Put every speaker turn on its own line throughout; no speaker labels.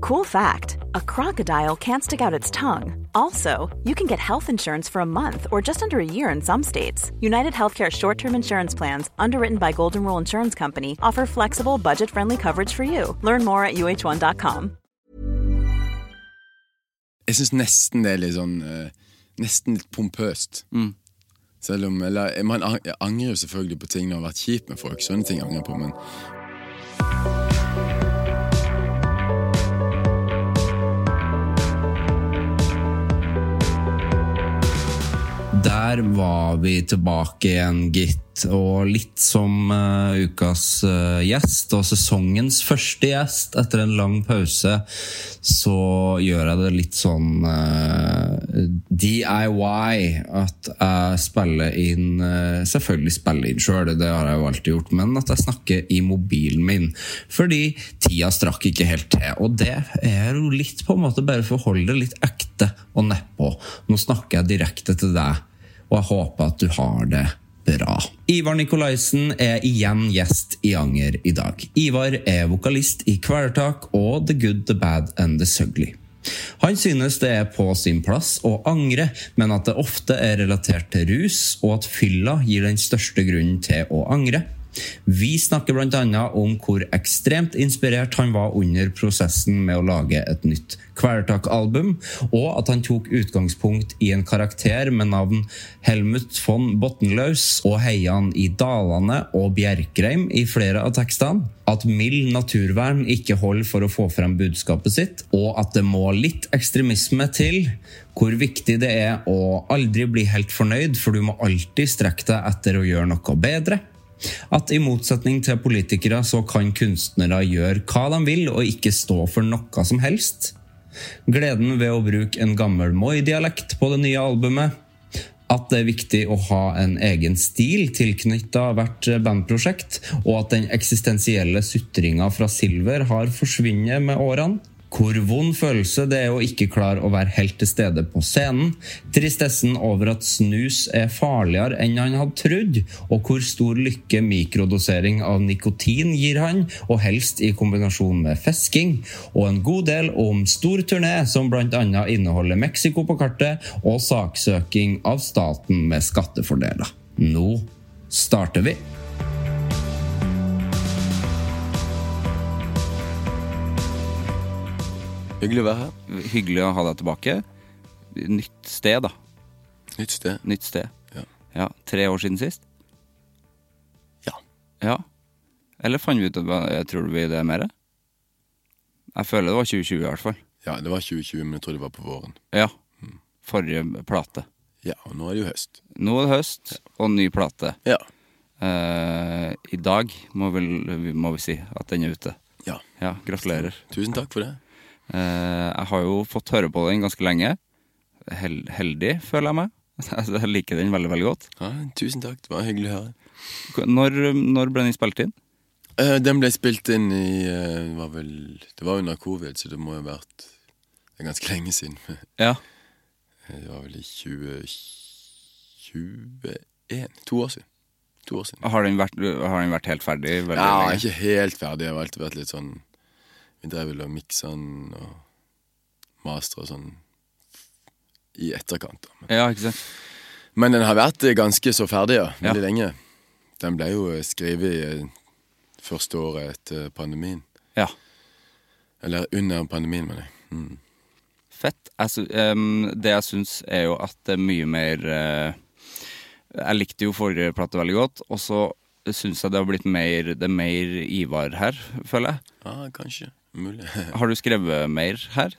Cool fact a crocodile can't stick out its tongue. Also, you can get health insurance for a month or just under a year in some states. United Healthcare short term insurance plans, underwritten by Golden Rule Insurance Company, offer flexible, budget friendly coverage for you. Learn more at uh1.com.
Jeg syns nesten det er litt sånn eh, Nesten litt pompøst. Selv om eller, Man ang- jeg angrer jo selvfølgelig på ting når man har vært kjip med folk. Sånne ting angrer jeg på, men
Der var vi tilbake igjen, gitt. Og litt som eh, ukas eh, gjest, og sesongens første gjest etter en lang pause, så gjør jeg det litt sånn eh, DIY. At jeg spiller inn eh, Selvfølgelig spiller inn sjøl, det har jeg jo alltid gjort, men at jeg snakker i mobilen min. Fordi tida strakk ikke helt til. Og det er jo litt på en måte bare for å holde det litt ekte og nedpå. Nå snakker jeg direkte til deg, og jeg håper at du har det bra. Ivar Nikolaisen er igjen gjest i Anger i dag. Ivar er vokalist i Kvelertak og The Good, The Bad and The Sugly. Han synes det er på sin plass å angre, men at det ofte er relatert til rus, og at fylla gir den største grunnen til å angre. Vi snakker bl.a. om hvor ekstremt inspirert han var under prosessen med å lage et nytt Kvelertak-album, og at han tok utgangspunkt i en karakter med navn Helmut von Bottenlaus og heia han i Dalane og Bjerkreim i flere av tekstene, at mild naturvern ikke holder for å få frem budskapet sitt, og at det må litt ekstremisme til, hvor viktig det er å aldri bli helt fornøyd, for du må alltid strekke deg etter å gjøre noe bedre. At i motsetning til politikere så kan kunstnere gjøre hva de vil og ikke stå for noe som helst. Gleden ved å bruke en gammel Moi-dialekt på det nye albumet. At det er viktig å ha en egen stil tilknytta hvert bandprosjekt, og at den eksistensielle sutringa fra Silver har forsvunnet med årene. Hvor vond følelse det er å ikke klare å være helt til stede på scenen. Tristessen over at snus er farligere enn han hadde trodd, og hvor stor lykke mikrodosering av nikotin gir han, og helst i kombinasjon med fesking. Og en god del om stor turné, som bl.a. inneholder Mexico på kartet, og saksøking av staten med skattefordeler. Nå starter vi.
hyggelig å være her.
Hyggelig å ha deg tilbake. Nytt sted, da.
Nytt sted.
Nytt sted.
Ja.
Ja, Tre år siden sist?
Ja.
Ja. Eller fant vi ut at jeg Tror vi det er mer? Jeg føler det var 2020, i hvert fall.
ja, det var 2020, men jeg tror det var på våren.
Ja. Forrige plate.
Ja, og nå er det jo høst.
Nå er det høst, og ny plate.
Ja.
Eh, I dag må, vel, vi- må vi si at den er ute.
ja.
Ja, gratulerer.
Tusen takk for det.
Eh, jeg har jo fått høre på den ganske lenge. Hel heldig, føler jeg meg. Jeg liker den veldig veldig godt.
Ja, tusen takk, det var hyggelig å høre.
Når, når ble den spilt inn?
Eh, den ble spilt inn i eh, var vel, Det var under covid, så det må jo ha vært det er ganske lenge siden.
Ja.
Det var vel i 2021. To år siden. To år siden.
Har den vært, har den vært helt ferdig? Veldig
Ja,
lenge?
ikke helt ferdig. Det har alltid vært litt sånn Vi drev vel og miksa den og mastra og sånn i etterkant. da. Men,
Ja, ikke sant?
men den har vært eh, ganske så ferdig, ja.
Ja.
Veldig lenge. Den ble jo eh, skrevet eh, første året etter pandemien.
Ja.
Eller under pandemien, mener jeg. Mm.
Fett. Jeg sy- em, det jeg syns, er jo at det er mye mer eh, Jeg likte jo forrige plate veldig godt, og så eh, Det syns jeg det har blitt mer, det er mer Ivar her, føler jeg.
Ah, kanskje. Mulig.
Har du skrevet mer her?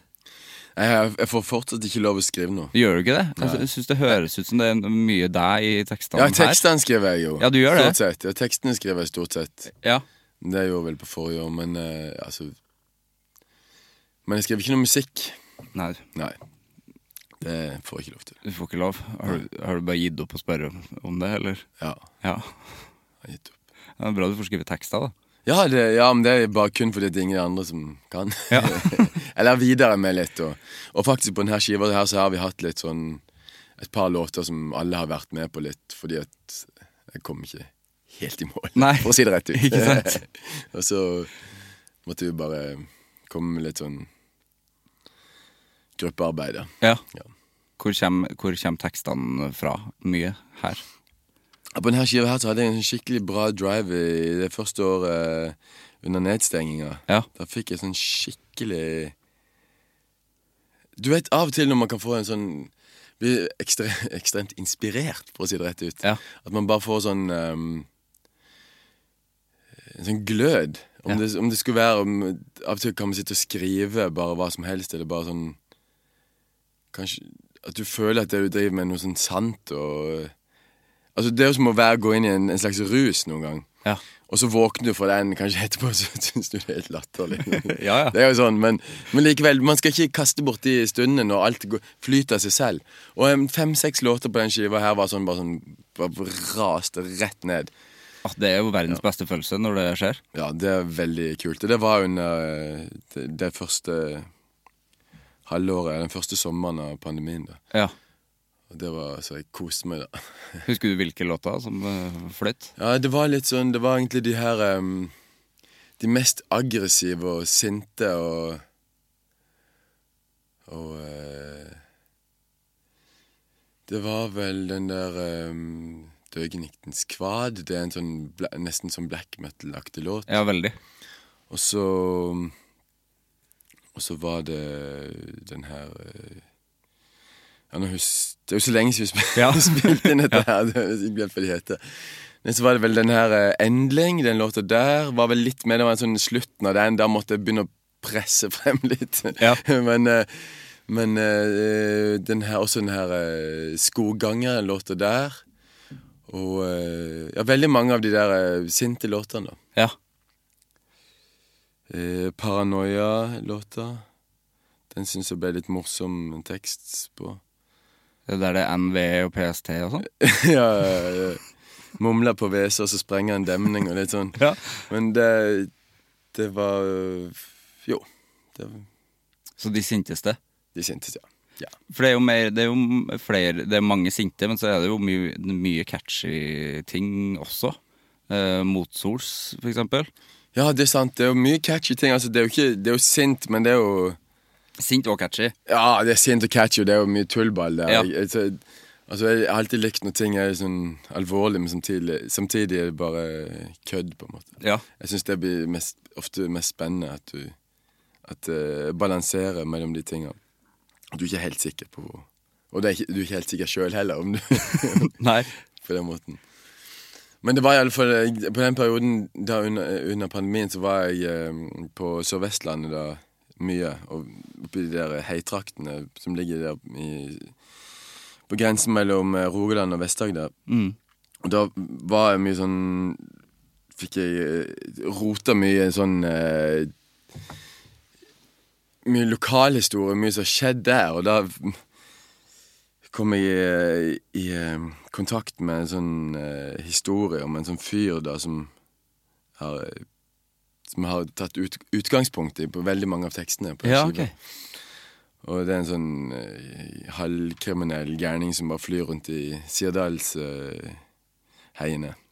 Nei, Jeg, jeg får fortsatt ikke lov å skrive nå.
Gjør du ikke det? Altså, Jeg sy- syns det høres ut som det er mye deg i tekstene
Ja, tekstene skriver jeg jo.
Ja, du gjør det.
Stort sett. Ja, tekstene skriver jeg stort sett.
her. Ja.
Det gjorde jeg vel på forrige år, men eh, altså Men jeg skrev ikke noe musikk.
Nei,
Nei. Det får jeg ikke lov til.
du får ikke lov. Har du, har du bare gitt opp å spørre om- om det, eller?
Ja,
Ja.
jeg har gitt opp.
Det er bra du får skrevet tekster, da.
Ja, det, ja, men det er bare kun fordi det er ingen andre som kan. Eller videre med litt. Og, og faktisk på denne skiva her så har vi hatt litt sånn et par låter som alle har vært med på litt, fordi at jeg kom ikke helt i mål,
Nei.
for å si det rett ut.
Ikke sant?
og så måtte vi bare komme med litt sånn gruppearbeid. da.
Ja.
Ja.
Hvor kommer, hvor kommer tekstene fra? Mye her.
Ja, På denne skiva her så hadde jeg en skikkelig bra drive i det første året eh, under nedstenginga.
Ja.
Da fikk jeg sånn skikkelig Du vet av og til når man kan få en sånn Bli ekstre, ekstremt inspirert, for å si det rett ut.
Ja.
At man bare får sånn ehm, En sånn glød. Om,
Ja.
det, om det skulle være om, Av og til kan man sitte og skrive bare hva som helst, eller bare sånn Kanskje At du føler at det du driver med, er noe sånn sant og Altså Det er jo som å være, gå inn i en, en slags rus noen gang.
Ja.
Og så våkner du fra den kanskje etterpå, så syns du det er helt latterlig.
Ja, ja.
Det er jo sånn, men, men likevel, man skal ikke kaste bort de stundene når alt går, flyter av seg selv. Og em, fem-seks låter på den skiva her var sånn bare sånn bare raste rett ned.
Ah, Det er jo verdens beste følelse når det skjer.
Ja, det er veldig kult. Og det var under eh, det, det første halvåret, den første sommeren av pandemien. da.
Ja.
Og det var så jeg koste meg, da.
Husker du hvilke låter som eh, fløyt?
Ja, det var litt sånn Det var egentlig de her em, De mest aggressive og sinte og Og eh, Det var vel den der um, Døgeniktens kvad. Det er en sånn bla, nesten sånn black metal-aktig låt.
Ja, veldig.
Og så Og så var det den her eh, Ja, nå hus, Det er jo så lenge siden vi spil,
Ja.
spilte inn dette her. Det, jeg glemte hva de heter. Men så var det vel den her eh, Endling, den låta der, var vel litt mer Det var en sånn slutten av den. Der måtte jeg begynne å presse frem litt.
Ja.
Men eh, men eh, den her, også den her eh, Skogganger-låta der. Og eh, ja, veldig mange av de der eh, sinte låtene, da.
Ja.
Eh, Paranoia-låta. Den syns jeg ble litt morsom tekst på.
Det der det er NV og PST og sånn?
ja, eh, Mumler på WC, og så sprenger en demning og litt sånn.
Ja.
Men det, det var eh, Jo. Det var
Så de sinteste?
de syntes, ja. ja.
For det er jo, mer, det er jo m- flere Det er mange sinte, men så er det jo mye, mye catchy ting også. Eh, motsols, for eksempel.
Ja, det er sant. Det er jo mye catchy ting. Altså, det, er jo ikke, det er jo sint, men det er jo
Sint og catchy.
Ja, det er sint og catchy, og det er jo mye tullball der.
Ja.
Jeg, jeg, så- altså, jeg har alltid likt når ting er sånn alvorlig, men samtidig, samtidig er det bare kødd, på en måte.
Ja.
Jeg syns det blir mest, ofte mest spennende at du at, eh, balanserer mellom de tingene. At du ikke er helt sikker på hvor Og det er ikke, du er ikke helt sikker sjøl heller, om du
Nei.
på den måten. Men det var i alle fall eh, På den perioden da under, under pandemien så var jeg eh, på Sør-Vestlandet da mye. Og oppi de der heitraktene som ligger der i, på grensen mellom eh, Rogaland og Vest-Agder. Og da var jeg mye sånn Fikk jeg eh, rota mye i sånn eh, Mye lokalhistorie, mye som har skjedd der, og da kom jeg i, i eh, kontakt med en sånn eh, historie om en sånn fyr da som har, som har tatt ut, utgangspunkt i på veldig mange av tekstene på den
Ja,
skiva.
ok.
Og det er en sånn eh, halvkriminell gærning som bare flyr rundt i eh, Sirdalsheiene.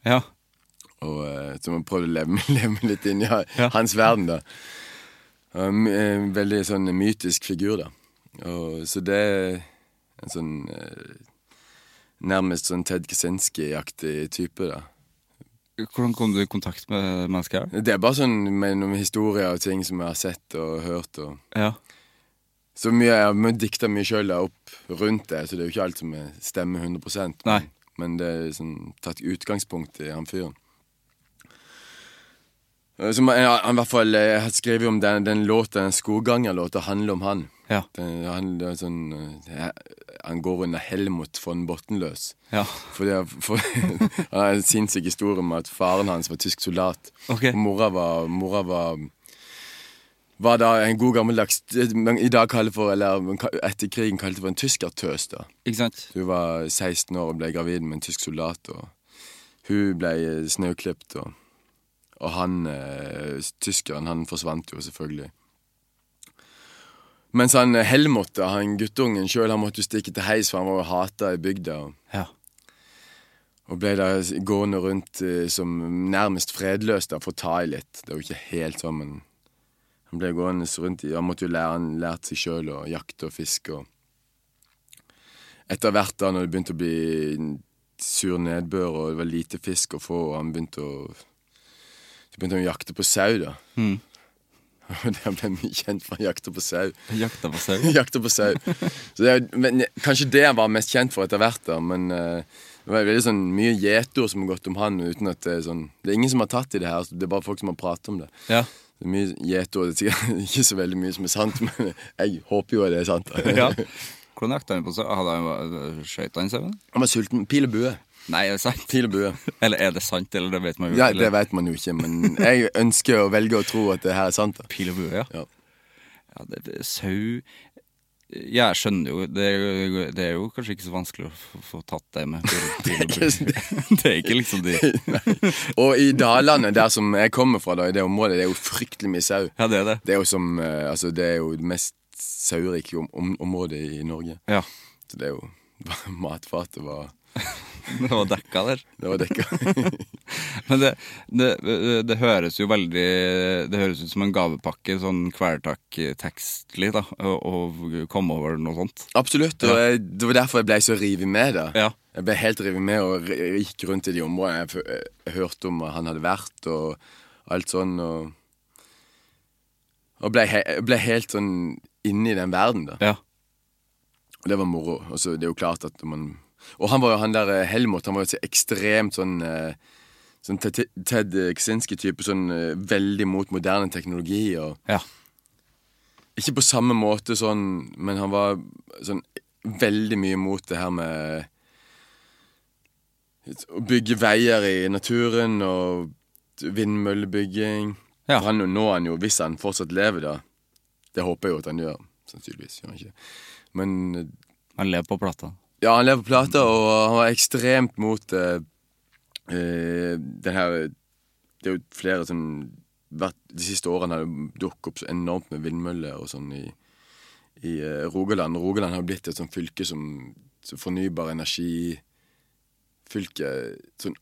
Ja.
og eh, som har prøvd å leve, med- leve med litt inn i ha-
Ja.
hans verden, da. Og En my- en veldig sånn mytisk figur, da. Og, så det er en sånn eh, Nærmest sånn Ted Kaczynski-aktig type, da.
Hvordan kom du i kontakt med mennesket her?
Det er bare sånn med noen historier og ting som jeg har sett og hørt. og...
Ja.
Så mye, jeg har dikta mye sjøl opp rundt det, så det er jo ikke alt som er- liksom stemmer 100
Nei.
Men det er sånn, tatt utgangspunkt i han fyren. Eh, Som jeg, jeg, i hvert fall, eh, jeg har skrevet om den, den låten, den skoggangerlåta, handler om han.
Ja.
Den, han, det er sånn, eh, han går under Helmut von Bottenløs.
Ja.
Fordi han- for, han har en sinnssyk historie om at faren hans var tysk soldat.
Ok.
Og mora var, mora var var da en god gammeldags man I dag kaller for, eller man ka- etter krigen kalte for en tyskertøs. da
Ikke sant?
Hun var 16 år og ble gravid med en tysk soldat. Og hun ble eh, snauklipt, og, og han eh, tyskeren han forsvant jo, selvfølgelig. Mens han eh, Helmut, da, han guttungen sjøl, han måtte jo stikke til heis, for han var jo hata i bygda. og
Ja.
og ble da gående rundt eh, som nærmest fredløs da, for å ta i litt. Det er jo ikke helt sånn, men han ble gående rundt i Han måtte jo lære han lærte seg sjøl å jakte og fiske og Etter hvert, da når det begynte å bli sur nedbør og det var lite fisk å få, og han begynte å Så begynte han å jakte på sau, da. Og der ble han mye kjent for han jakter på sau.
Jakta på sau.
Jakter på sau. Så det, er jo- men, kanskje det han var mest kjent for etter hvert, da, men eh, det var veldig sånn mye gjetord som har gått om han. uten at Det er sånn Det er ingen som har tatt i det her, altså, det er bare folk som har pratet om det.
Ja.
Det er mye gjetord, det er sikkert ikke så veldig mye som er sant, men jeg håper jo at det er sant.
ja. Hvordan jakta han på sau? Hadde han Skøyt han sauen?
Han var sulten. Pil og bue.
Nei, er det sant?
Pil og bue.
Eller er det sant, eller det vet man jo
Ja,
eller-
det vet man jo ikke, men jeg ønsker å velge å tro at det her er sant. da
Pil og bue, ja.
Ja.
ja det, det, sau Ja, jeg skjønner jo det, er jo det er jo kanskje ikke så vanskelig å få, få tatt det med pil, pil og bue. det er ikke liksom de
Og i Dalane, der som jeg kommer fra, da, i det området, det er jo fryktelig mye sau.
Ja, det er det.
Det er jo som eh, Altså, det er jo det mest saurike om, om, området i Norge.
Ja.
Så det er jo Matfatet var
Det var dekka der.
Det var dekka.
Men det, det, det høres jo veldig Det høres ut som en gavepakke, sånn kvelertak-tekstlig, da, å å komme over noe sånt.
Absolutt. Og jeg, det var derfor jeg ble så revet med, da.
Ja.
Jeg ble helt revet med og re- gikk rundt i de områdene jeg, f- jeg hørte om hva han hadde vært, og alt sånn, og Og ble, he, ble helt sånn inne i den verden, da.
Ja.
Og det var moro. Og så det er jo klart at man Og han var jo han der eh, Helmut, han var jo så ekstremt sånn eh, Sånn Ted- Ted Kaczynski-type, sånn eh, veldig mot moderne teknologi og
ja.
Ikke på samme måte sånn, men han var sånn veldig mye mot det her med Å bygge veier i naturen og vindmøllebygging.
Ja.
Han, nå er han jo, hvis han fortsatt lever, da Det håper jeg jo at han gjør. Sannsynligvis gjør han ikke det. Men eh,
Han lever på plata.
ja, han lever på plata, og han var ekstremt mot eh, eh, den her Det er jo flere som hvert, De siste årene har det dukket opp så enormt med vindmøller og sånn i, i eh, Rogaland. Rogaland har blitt et sånt fylke som så fornybar energi-fylke sånn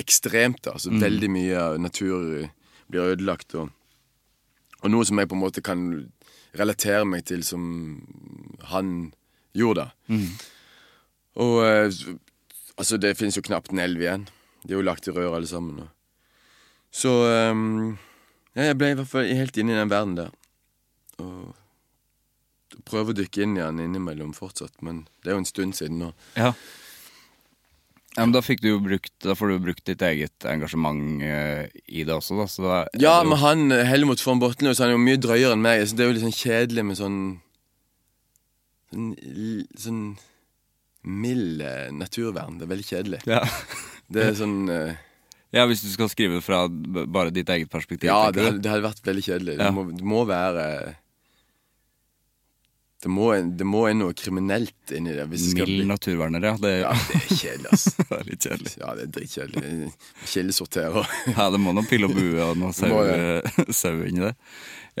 ekstremt, da. Så veldig mye av natur blir ødelagt. og og noe som jeg på en måte kan relatere meg til som han gjorde. Og eh, så- altså, det finnes jo knapt en elv igjen. De er jo lagt i rør alle sammen. Og. Så eh, ja, jeg ble i hvert fall helt inne i den verden der. Og prøver å dykke inn i den innimellom fortsatt, men det er jo en stund siden nå.
Ja. ja, men da fikk du jo brukt Da får du jo brukt ditt eget engasjement eh, i det også, da. Så da er
Ja,
det jo-
men han eh, Helmut von Bottenløs Han er jo mye drøyere enn meg. Så det er jo litt sånn kjedelig med sånn Sånn, l- sånn mild eh, naturvern. Det er veldig kjedelig.
ja.
Det er sånn eh,
ja, hvis du skal skrive fra b- bare ditt eget perspektiv.
Ja,
tenker
det
du?
hadde, det hadde vært veldig kjedelig.
Ja.
Det, må, det må være det må, det må inn noe kriminelt inni det. Hvis det skal
Mild
bli,
naturverner, ja. Det,
ja, det er kjedelig, ass.
det er litt kjedelig.
Ja, det er dritkjedelig. Kildesorterer.
Ja, det må noen pille og bue og noe sau, eh,
må
sau inni det.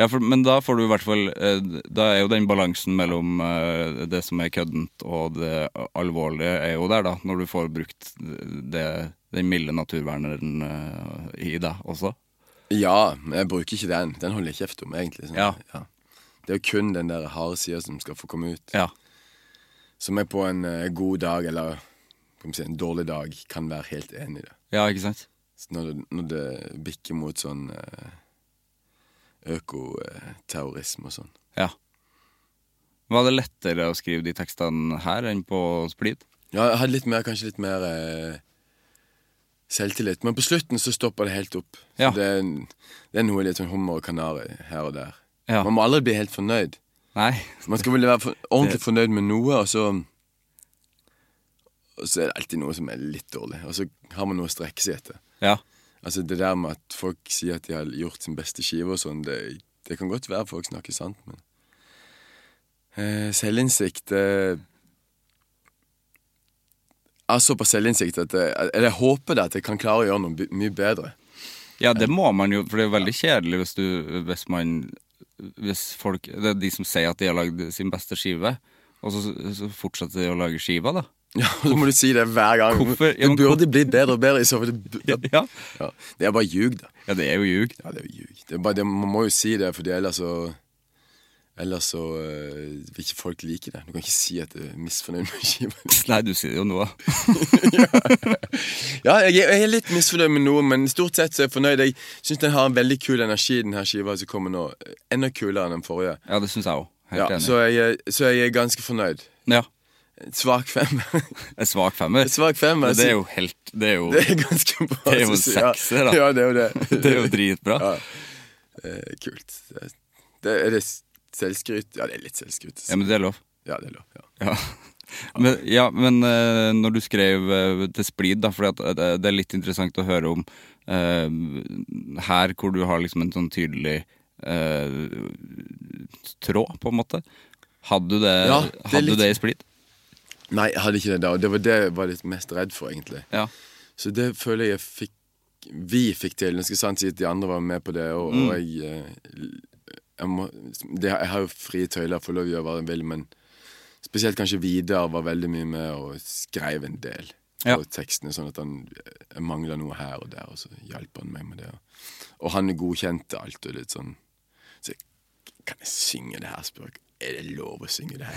Ja, for, men da får du i hvert fall eh, Da er jo den balansen mellom eh, det som er køddent og det alvorlige, er jo der, da. Når du får brukt det, den milde naturverneren eh, i deg også.
Ja, men jeg bruker ikke den. Den holder jeg kjeft om, egentlig. Sånn.
Ja.
Det er jo kun den der harde sida som skal få komme ut.
Ja.
Som jeg på en eh, god dag, eller kan vi si, en dårlig dag, kan være helt enig i det.
ja, ikke sant?
Så når, det når det bikker mot sånn eh, økoterrorisme og sånn.
Ja. Var det lettere å skrive de tekstene her enn på Splid?
Ja, jeg hadde litt mer, kanskje litt mer eh, selvtillit. Men på slutten så stopper det helt opp. Så
Ja.
det, er, en- det er noe litt sånn hummer og kanari her og der.
Ja.
Man må aldri bli helt fornøyd.
Nei.
Man skal vel være for, ordentlig fornøyd med noe, og så Og så er det alltid noe som er litt dårlig, og så har man noe å strekke seg etter.
Ja.
Altså Det der med at folk sier at de har gjort sin beste skive og sånn, det, det kan godt være folk snakker sant, men eh, Selvinnsikt eh, Jeg har såpass selvinnsikt at jeg, eller jeg håper det at jeg kan klare å gjøre noe by- mye bedre.
ja, det må man jo, for det er jo veldig kjedelig hvis du Hvis man Hvis folk Det er de som sier at de har lagd sin beste skive, og så, så fortsetter de å lage skiva, da.
Ja, og Så må du si det hver gang.
Hvorfor- ja,
det
men
burde bli bedre og bedre. i Så, fall. det, bu-
Ja.
ja. det er bare ljug, da.
Ja, det er jo ljug.
Ja, det er jo ljug. Det er bare, det, man må jo si det, for ellers så Ellers så eh, vil ikke folk like det. Du kan ikke si at du er misfornøyd med skiva.
Nei, du sier det jo nå, da.
Ja, jeg, er- jeg er litt misfornøyd med noe, men stort sett så er jeg fornøyd. Jeg syns den har en veldig kul energi, den her skiva som kommer nå. Enda kulere enn den forrige.
Ja, det syns jeg òg. Helt
Ja,
enig.
så, jeg, er- så jeg er ganske fornøyd.
Ja.
Svak fem.
En svak femmer.
En svak femmer,
Men Det er
så-
jo helt Det er jo,
Det er ganske bra.
Det er jo en
synes jeg. Ja.
sekser, da.
Ja, det er jo det.
det er jo dritbra.
Ja. Eh, kult. Det er, det, er det selvskryt? Ja, det er litt selvskryt.
Ja, men det er lov.
Ja, det er lov. Ja.
Ja. Men, ja, men eh, når du skrev eh, til Splid, da, for det, det er litt interessant å høre om eh, her hvor du har liksom en sånn tydelig eh, tråd, på en måte. Hadde du det,
Ja, det er
hadde
litt-
du det i Splid?
Nei, jeg hadde ikke det da. og Det var det jeg var litt mest redd for, egentlig.
Ja.
Så det føler jeg fikk Vi fikk til. Nå skal jeg sant si at de andre var med på det, og, og
Mm.
jeg eh, jeg, må, det, jeg har jo frie tøyler, får lov å gjøre hva jeg vil, men spesielt kanskje Vidar var veldig mye med og skrev en del
Ja.
på tekstene, sånn at han jeg mangla noe her og der, og så hjalp han meg med det. Og han godkjente alt og litt sånn. Så jeg, kan jeg synge det her, spør jeg. Er det lov å synge det her?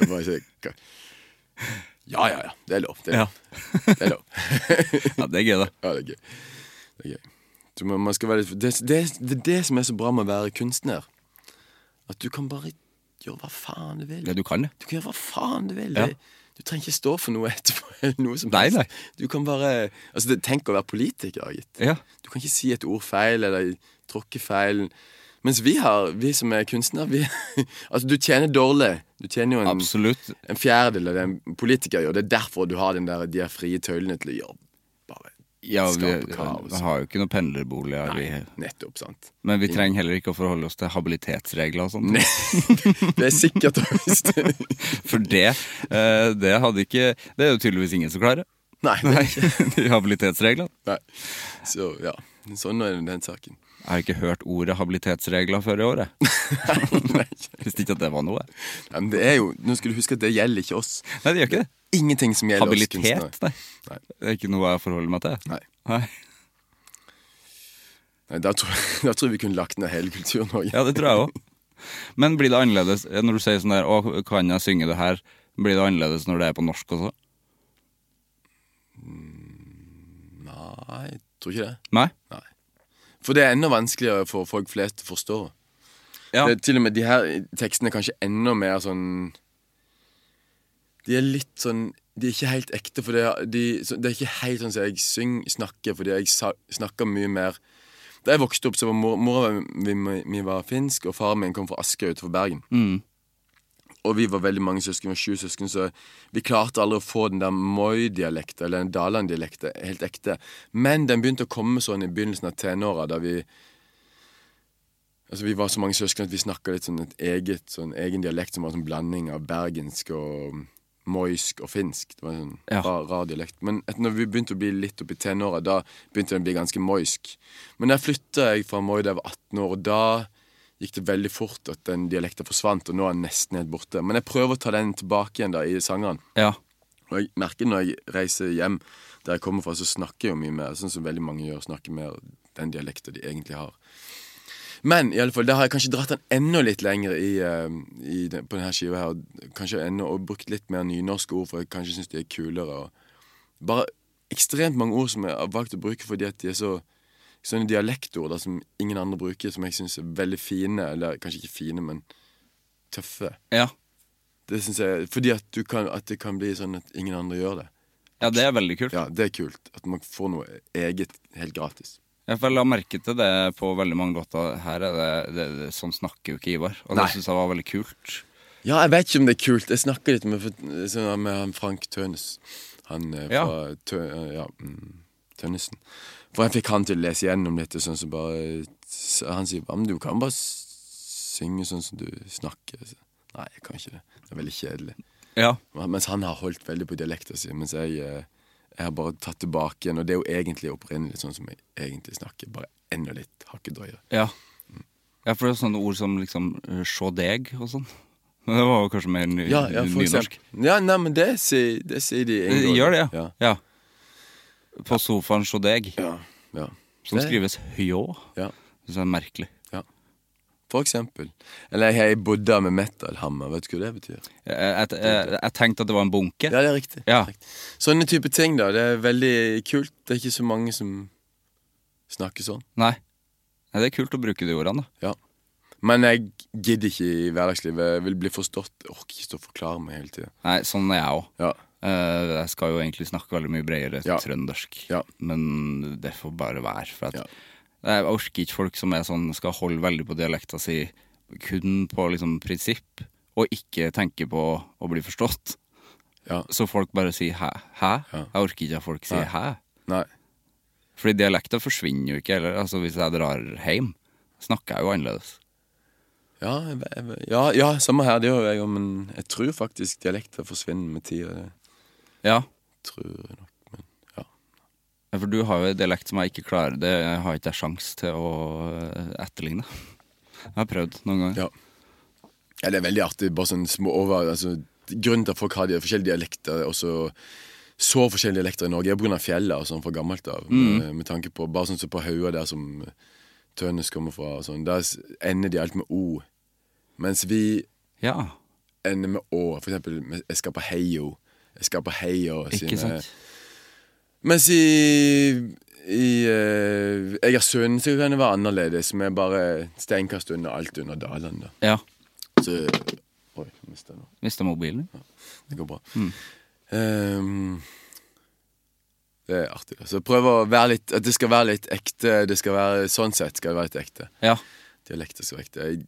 Jeg bare, så, jeg, ja, ja, ja. Det er lov. Det er
Ja.
lov. Det er lov.
ja, det er gøy, da.
Ja, det er gøy. Det er gøy. Så man, man skal være litt, det, det, det er det som er så bra med å være kunstner. At du kan bare gjøre hva faen du vil.
Ja, du kan det.
Du kan gjøre hva faen du vil.
Ja.
Det- Du trenger ikke stå for noe etterpå. eller Noe som
Nei,
helst.
nei.
Du kan bare Altså, det, tenk å være politiker, gitt.
Ja.
Du kan ikke si et ord feil eller tråkke feil. Mens vi har, vi som er kunstnere, vi Altså, du tjener dårlig. Du tjener jo en
Absolutt.
en fjerdedel av det en politiker gjør. Det er derfor du har den der, de her frie tøylene til å gjøre bare
Ja, vi,
skape kaos.
vi har jo ikke noen pendlerboliger. Vi,
Nettopp, sant.
Men vi trenger heller ikke å forholde oss til habilitetsregler og sånt.
Det er sikkert og visst.
For det, eh, det hadde ikke Det er jo tydeligvis ingen som klarer.
Nei.
Nei, de habilitetsreglene.
Nei. Så ja, sånn er den saken.
Jeg har ikke hørt ordet habilitetsregler før i året.
Nei,
Visste ikke at det var noe.
men det er jo, Nå skal du huske at det gjelder ikke oss.
Nei, det gjør ikke det.
Ingenting som gjelder oss
Habilitet,
kunstnere.
nei.
Nei.
Det er ikke noe jeg forholder meg til.
Nei.
Nei.
Nei, da tror, jeg- da tror jeg vi kunne lagt ned hele Kultur-Norge.
Ja, det tror jeg òg. Men blir det annerledes eh, når du sier sånn der Å, kan jeg synge det her? Blir det annerledes når det er på norsk også?
Nei, jeg tror ikke det.
Nei?
Nei. For det er enda vanskeligere for folk flest å forstå.
Ja.
Det er til og med de her tekstene er kanskje enda mer sånn De er litt sånn De er ikke helt ekte, for det er, de, så, det er ikke helt sånn som jeg syng, snakker, fordi jeg sa, snakker mye mer Da jeg vokste opp, så var mor, mora mi, mi var finsk, og faren min kom fra Askøy utenfor Bergen. Og vi var veldig mange søsken, vi var sju søsken, så vi klarte aldri å få den der Moi-dialekten, eller den Daland-dialekten, helt ekte. Men den begynte å komme sånn i begynnelsen av tenåra, da vi Altså Vi var så mange søsken at vi snakka litt sånn et eget, sånn egen dialekt som var en sånn blanding av bergensk og moisk og finsk. Det var en sånn
Ja.
rar, rar dialekt. Men etter når vi begynte å bli litt oppi tenåra, da begynte den å bli ganske moisk. Men der flytta jeg fra Moi da jeg var 18 år, og da gikk det veldig fort at den dialekten forsvant, og nå er den nesten helt borte. Men jeg prøver å ta den tilbake igjen da i sangeren.
Ja.
Og jeg merker når jeg reiser hjem der jeg kommer fra, så snakker jeg jo mye mer, sånn som veldig mange gjør, snakker mer den dialekten de egentlig har. Men i alle fall, da har jeg kanskje dratt den enda litt lenger i, eh, i den, på denne skiva her, og kanskje enda, og brukt litt mer nynorske ord, for jeg kanskje syns de er kulere. Og bare ekstremt mange ord som jeg har valgt å bruke fordi at de er så sånne dialektord da, som ingen andre bruker, som jeg syns er veldig fine, eller kanskje ikke fine, men tøffe.
Ja.
Det synes jeg, Fordi at, du kan, at det kan bli sånn at ingen andre gjør det.
Ja, det er veldig kult.
Ja, det er kult. At man får noe eget helt gratis.
Jeg får la merke til det på veldig mange låter her. Er det, det, det, sånn snakker jo ikke Ivar. Og
Nei.
det syns jeg var veldig kult.
Ja, jeg vet ikke om det er kult. Jeg snakker litt med, sånn med han Frank Tønes. Han eh,
Ja.
fra Tø, eh, ja, mm, Tønnesen. For jeg fikk han til å lese gjennom litt, og sånn som bare så Han sier bare Men du kan bare s- synge sånn som du snakker. Så, Nei, jeg kan ikke det. Det er veldig kjedelig.
Ja.
Men- Mens han har holdt veldig på dialekta si. Mens jeg, eh, jeg har bare tatt tilbake igjen. Og det er jo egentlig opprinnelig sånn som jeg egentlig snakker, bare enda litt hakket drøyere.
Ja. ja, for det er sånne ord som liksom eh, sjå deg og sånn. Men det var jo kanskje mer ny,
Ja, ja, for
nynorsk.
eksempel. Ja, nei, men det sier, det sier de
Eh,
egentlig.
Gjør det, ja.
Ja.
ja. På sofaen sjå deg,
ja. ja.
som
Det-
skrives hjå.
Ja,
Det er merkelig.
ja. For eksempel. Eller jeg har ei bodda med metalhammer, vet du hva det betyr?
Jeg, jeg, jeg, jeg tenkte at det var en bunke.
Ja, det er riktig.
Ja.
Riktig. Sånne type ting, da. Det er veldig kult. Det er ikke så mange som snakker sånn.
Nei. Nei, Det er kult å bruke de ordene, da.
Ja. Men jeg gidder ikke i hverdagslivet. Jeg vil bli forstått. Jeg orker ikke stå og forklare meg hele tida.
Nei, sånn er jeg òg.
Ja.
Eh, jeg skal jo egentlig snakke veldig mye bredere
Ja.
trøndersk,
Ja.
men det får bare være. For at
Ja.
Jeg orker ikke folk som er sånn, skal holde veldig på dialekta si kun på liksom prinsipp, og ikke tenke på å bli forstått.
Ja.
Så folk bare sier 'hæ'. hæ?
Ja.
Jeg orker ikke at folk sier 'hæ'.
Nei.
Fordi dialekta forsvinner jo ikke heller. Altså, hvis jeg drar hjem, snakker jeg jo annerledes.
Ja, jeg ve- jeg ve- ja, ja, samme her, det gjør jeg òg, men jeg tror faktisk dialekter forsvinner med tida. Det
Ja,
tror jeg nok. Men ja.
Ja, For du har jo en dialekt som jeg ikke klarer. Det har ikke jeg sjans til å eh, etterligne. Jeg har prøvd noen ganger.
Ja. ja, det er veldig artig. Bare sånn små over, altså, Grunnen til at folk har de forskjellige dialekter, og så så forskjellige dialekter i Norge, er pga. fjellet og sånn fra gammelt av. Med,
Mm.
med tanke på Bare sånn som på Haua, der som Tønnes kommer fra, og sånn, der s- ender de alt med O. Mens vi
Ja,
ender med Å. For eksempel, med- jeg skal på Heio. Jeg skal på Heia.
ikke sant?
Mens i, i eh, Egersund så kan det være annerledes, med bare steinkast under alt under dalene. da.
Ja.
Så Oi, mista noe.
Mista mobilen.
Det går bra. Ehm, det er artig. da. Så prøv å være litt At det skal være litt ekte. Det skal være, sånn sett skal det være litt ekte.
Ja,
Dialekter skal være ekte. Jeg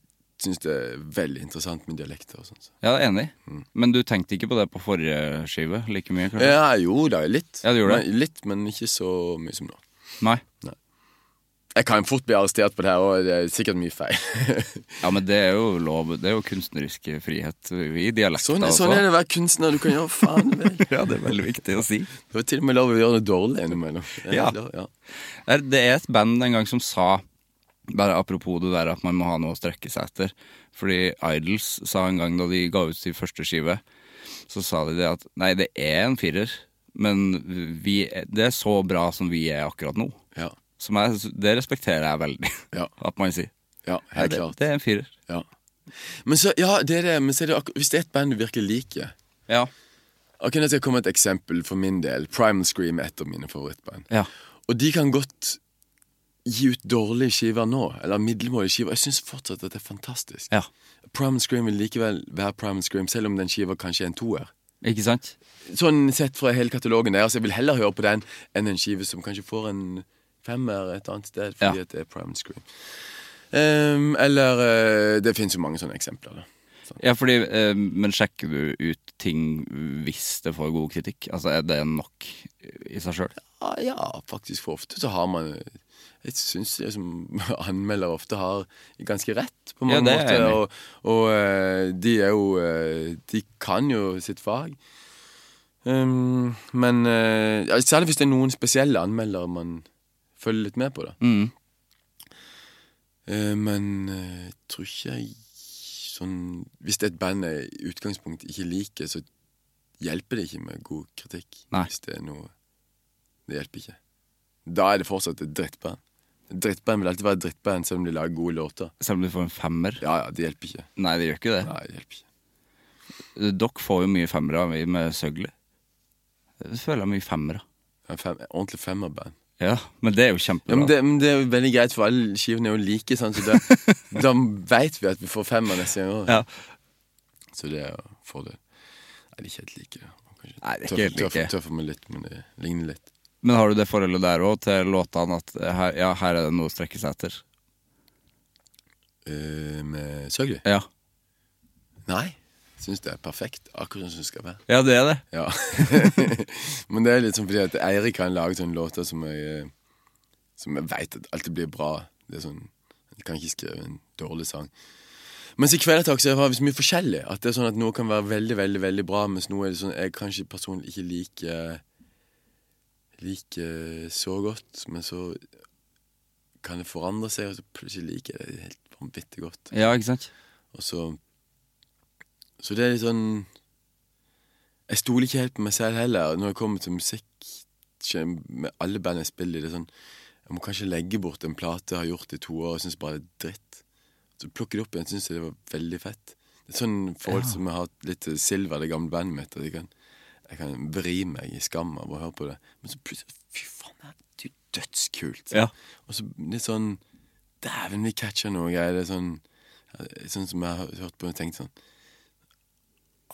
syns det er veldig interessant med dialekter. og sånt.
jeg er enig. Men du tenkte ikke på det på forrige skive like mye? kanskje?
Mm. Ja, jo da, litt.
Ja, det gjorde det.
men, litt, men ikke så mye som nå.
Nei?
Jeg kan fort bli arrestert på det her, og det er sikkert mye feil.
Ja, men det er jo lov. Det er jo kunstnerisk frihet i dialekta
sånn, er-
også.
sånn er det å være kunstner. Du kan gjøre faen du vil.
Ja, det er veldig viktig å si.
Det er til og med lov å gjøre det dårlig innimellom. Det er
Ja.
lov, ja.
Er- Det er et band en gang som sa bare Apropos det der at man må ha noe å strekke seg etter. Fordi Idols sa en gang da de ga ut sin første skive, så sa de det at nei, det er en firer, men vi, det er så bra som vi er akkurat nå.
Ja.
Som jeg, det respekterer jeg veldig.
Ja.
At man sier
ja,
nei,
helt
det,
klart.
det er en firer.
Ja. Men så, ja, det er det, men så er det akkur- hvis det er et band du virkelig liker
Ja.
Ok, Nå skal jeg komme med et eksempel for min del. Primal Scream er et av mine favorittband.
Ja.
Og de kan godt gi ut dårlige skiver nå, eller middelmådige skiver. Jeg syns fortsatt at det er fantastisk.
ja.
Primal Scream vil likevel være Primal Scream, selv om den skiva kanskje er en toer.
Ikke sant?
Sånn sett fra hele katalogen deres, jeg vil heller høre på den enn en skive som kanskje får en femmer et annet sted, fordi
Ja.
at det er Primal Scream. Ehm, eller eh, Det fins jo mange sånne eksempler, da.
Ja, fordi, eh, men sjekker du ut ting hvis det får god kritikk? Altså, er det nok i seg sjøl?
Ja, Ah, ja, faktisk for ofte så har man Jeg syns liksom, anmeldere ofte har ganske rett på
Ja,
mange
det er jeg
måter.
enig i.
Og, og eh, de er jo eh, De kan jo sitt fag. Ehm, men eh, ja, Særlig hvis det er noen spesielle anmeldere man følger litt med på, da.
Mm.
Eh, men eh, jeg tror ikke jeg sånn Hvis det er et band jeg i utgangspunktet ikke liker, så hjelper det ikke med god kritikk.
Nei.
Hvis det er noe Det hjelper ikke. Da er det fortsatt et drittband. Et drittband vil alltid være et drittband, selv om de lager gode låter.
Selv om du får en femmer?
Ja, ja, det hjelper ikke.
Nei, det gjør ikke det.
Nei, det hjelper ikke.
Dere får jo mye femmere av vi med Søgli. Jeg føler jeg mye femmere.
En fem, en ordentlig femmerband.
Ja, men det er jo
Ja,
kjempebra.
men, det, men det er jo veldig greit, for alle skivene er jo like, sant? så da, da veit vi at vi får femmer neste gang òg.
Ja.
Så det er jo en fordel. Nei, de er ikke helt like. da. kanskje.
Nei, det er
Tøff-
ikke helt
tøff-
like.
Tøffer meg litt, men det ligner litt.
Men har du det forholdet der òg, til låtene at eh, her, ja, her er det noe å strekke seg etter?
Eh, med Søgli?
Ja.
Nei. Syns det er perfekt. Akkurat som det skal være.
ja, det er det.
Ja. Men det er litt sånn fordi at Eirik kan lage sånne låter som jeg eh, Som jeg veit at alltid blir bra. Det er sånn Jeg kan ikke skrive en dårlig sang. Mens i Kvelertak så har vi så mye forskjellig. At det er sånn at noe kan være veldig veldig, veldig bra, mens noe er det sånn jeg kanskje personlig ikke liker Liker så godt. Men så kan det forandre seg, og så plutselig liker jeg det helt vanvittig godt.
Ja, ikke sant?
Og så Så det er litt sånn Jeg stoler ikke helt på meg selv heller. Når jeg kommer til musikk skje- med alle band jeg spiller i, det er sånn Jeg må kanskje legge bort en plate jeg har gjort i to år og syns bare det er dritt. Så plukker jeg det opp igjen, syns jeg det var veldig fett. Det er sånn forhold som jeg har hatt litt til Silver, det gamle bandet mitt. At jeg kan, jeg kan vri meg i skam av å høre på det. Men så plutselig Fy faen, det her er jo dødskult.
Ja.
Og så litt sånn Dæven, vi catcher noe greier. Det er sånn Sånn som jeg har hørt på og tenkt sånn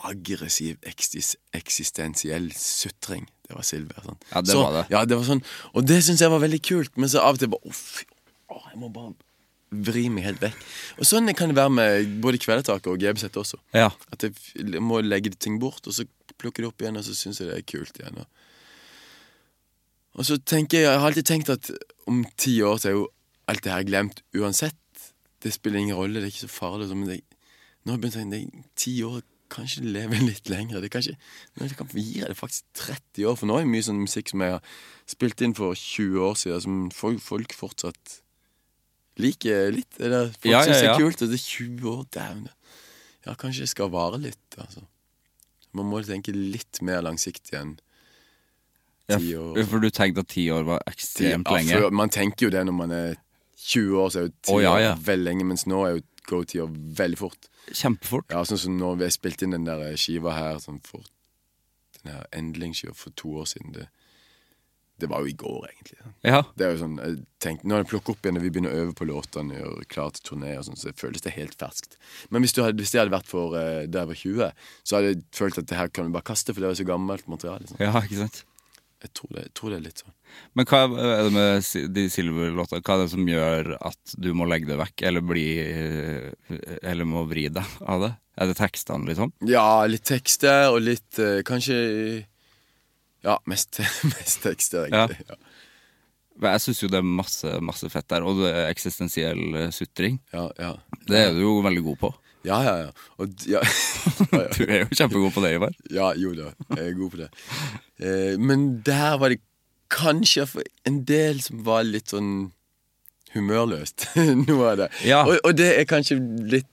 Aggressiv ekstis, eksistensiell sutring. Det var Silver. Sånn.
Ja, det
så,
var det.
Ja, det var sånn, og det syns jeg var veldig kult, men så av og til bare Uff, å, jeg må bare vri meg helt vekk. Og sånn kan det være med både Kvelertaket og GBZ også.
Ja.
At jeg f- må legge ting bort, og så plukke det opp igjen, og så syns jeg det er kult igjen. Og, og så tenker jeg, jeg har alltid tenkt at om ti år så er jo alt det her glemt uansett. Det spiller ingen rolle, det er ikke så farlig. og sånn, Men det, nå har jeg begynt å tenke, det- ti år kanskje det lever litt lenger. Det kanskje, nå kan gir jeg det faktisk 30 år, for nå er det mye sånn musikk som jeg har spilt inn for 20 år siden, som folk, folk fortsatt liker litt. Eller folk
Ja, ja,
syns det
ja.
er kult, og det er 20 år, dæven. Ja, kanskje det skal vare litt, altså. Man må tenke litt mer langsiktig enn
Ja,
ti
f-
år.
For du tenkte at ti år var ekstremt
Ja,
lenge?
for man tenker jo det når man er 20 år, så er jo ti
Å, ja, ja.
år veldig lenge, mens nå er jo går jo ti år veldig fort.
Kjempefort.
Ja, sånn som når vi spilte inn den der skiva her sånn for, Den her Endling-skiva for to år siden det, det var jo i går, egentlig. sant?
Ja.
Det er jo sånn, jeg tenkte, Når jeg plukker opp igjen og vi begynner å øve på låtene og gjøre klar til turné, og sånn, så føles det helt ferskt. Men hvis, du hadde, hvis det hadde vært for eh, da jeg var 20, så hadde jeg følt at det her kan vi bare kaste, for det var så gammelt materiale. Liksom.
ja, ikke sant?
Jeg, tror det, jeg tror det er litt sånn.
Men hva er det med si- de Silver-låtene Hva er det som gjør at du må legge det vekk, eller bli Eller må vri deg av det? Er det tekstene, liksom?
Ja, litt tekster og litt eh, Kanskje Ja, mest, mest tekster, egentlig. Ja.
Men Jeg syns jo det er masse, masse fett der, og det er eksistensiell eh, sutring.
Ja, ja.
Det er du jo veldig god på.
Ja, ja, ja. Og, d- ja. ja, ja.
Du er jo kjempegod på det, Ivar.
Ja, jo da, jeg er god på det. Eh, men der var det kanskje for en del som var litt sånn humørløst, noe av det.
Ja.
Og, og det er kanskje litt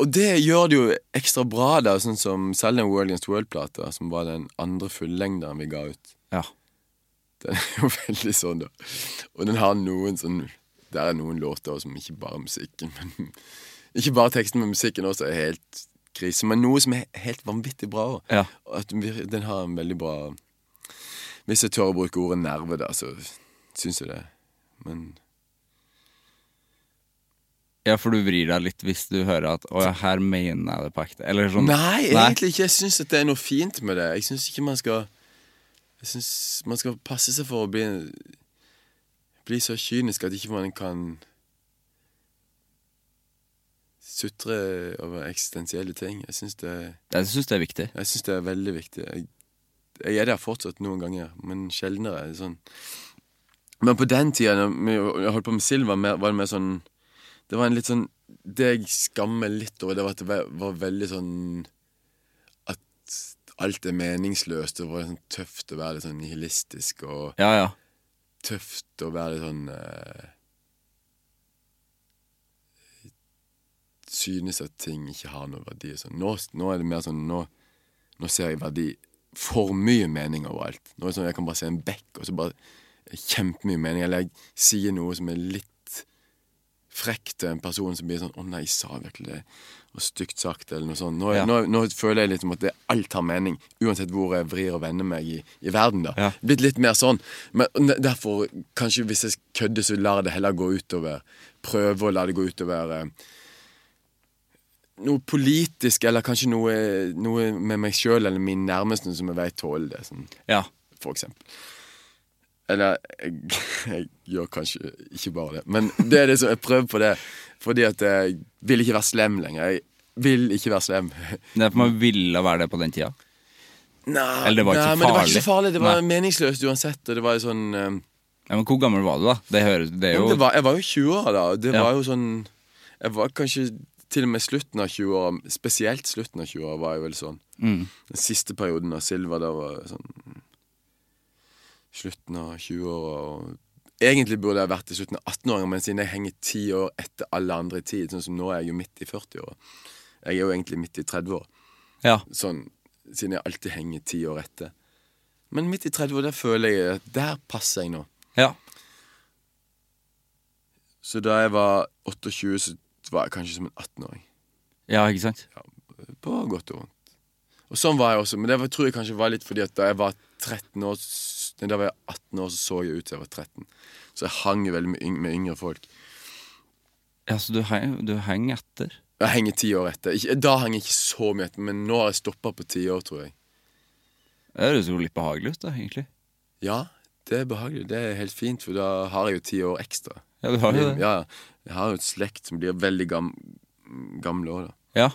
Og det gjør det jo ekstra bra, da, sånn som selv den World Against World-plata, som var den andre fullengderen vi ga ut.
Ja.
Den er jo veldig sånn, da. Og den har noen sånn Der er noen låter som ikke bare er musikken, men Ikke bare teksten, men musikken også er helt krise. Men noe som er helt vanvittig bra òg.
Ja.
At den vir- den har en veldig bra Hvis jeg tør å bruke ordet nerve, da, så syns jeg det. Men
ja, for du vrir deg litt hvis du hører at 'Å ja, her mener jeg det på ekte'. Eller sånn.
Nei, egentlig ikke. Jeg syns at det er noe fint med det. Jeg syns ikke man skal Jeg synes man skal passe seg for å bli Bli så kynisk at ikke man kan sutre over eksistensielle ting. Jeg syns det,
Jeg syns det er viktig.
jeg synes det er veldig viktig. Jeg, jeg er der fortsatt noen ganger, men sjeldnere. Sånn. Men på den tida, når vi- jeg holdt på med Silva, mer- var det mer sånn Det var en litt sånn Det jeg skammer litt over, det var at det var- var veldig sånn At alt er meningsløst. Det var sånn tøft å være litt sånn nihilistisk og
Ja, ja.
tøft å være litt sånn eh, Synes at ting ikke har noe verdi. og Sånn. Nå, nå er det mer sånn nå, nå ser jeg verdi for mye mening overalt. Nå er det sånn Jeg kan bare se en bekk, og så bare er det kjempemye mening. Eller jeg sier noe som er litt frekt til en person som blir sånn 'Å nei, jeg sa virkelig det.' Og stygt sagt, eller noe sånt. Nå,
Ja.
nå, nå føler jeg liksom at det, alt har mening, uansett hvor jeg vrir og vender meg i, i verden. da
Ja.
Blitt litt mer sånn. Men ne- derfor, kanskje hvis jeg kødder, så lar jeg det heller gå utover Prøver å la det gå utover eh, noe politisk, eller kanskje noe, noe med meg sjøl eller min nærmeste som jeg vet tåler det, sånn,
Ja.
for eksempel. Eller jeg, jeg gjør kanskje ikke bare det, men det er det som jeg prøver på det. Fordi at jeg vil ikke være slem lenger. Jeg vil ikke være slem.
Det er for man ville være det på den tida.
Nei,
Eller det var ikke
nei, men det var ikke
farlig.
så farlig. Det var
Nei.
meningsløst uansett. Og det var jo sånn eh,
Ja, men hvor gammel var du, da? Det, hører, det er
Men
jo
det var, jeg var jo 20 år da, og det
Ja.
var jo sånn Jeg var kanskje til og med slutten av 20 år, spesielt slutten av 20 år, var jeg vel sånn.
Mm.
Den siste perioden av Silva, da var jeg sånn Slutten av 20 år og Egentlig burde jeg vært i slutten av 18-åra, men siden jeg henger ti år etter alle andre i tid, sånn som nå er jeg jo midt i 40-åra. Jeg er jo egentlig midt i 30-åra
ja.
sånn Siden jeg alltid henger ti år etter. Men midt i 30 der føler jeg at der passer jeg nå.
ja.
Så da jeg var 28, så var jeg kanskje som en 18-åring.
Ja, ikke sant?
På godt og vondt. Og sånn var jeg også, men det var, tror jeg kanskje var litt fordi at da jeg var 13 år s- nei, Da var jeg 18 år, så så jeg ut til jeg var 13. Så jeg hang jo veldig med, yng med yngre folk.
Ja, så du, heng- du henger etter.
Jeg henger ti år etter. Ikke, da hang jeg ikke så mye etter, men nå har jeg stoppa på ti år, tror jeg.
Det høres jo litt behagelig ut, da, egentlig.
Ja, det er behagelig. Det er helt fint, for da har jeg jo ti år ekstra.
Ja, du har jo det.
Ja, jeg har jo et slekt som blir veldig gam gamle år da.
Ja.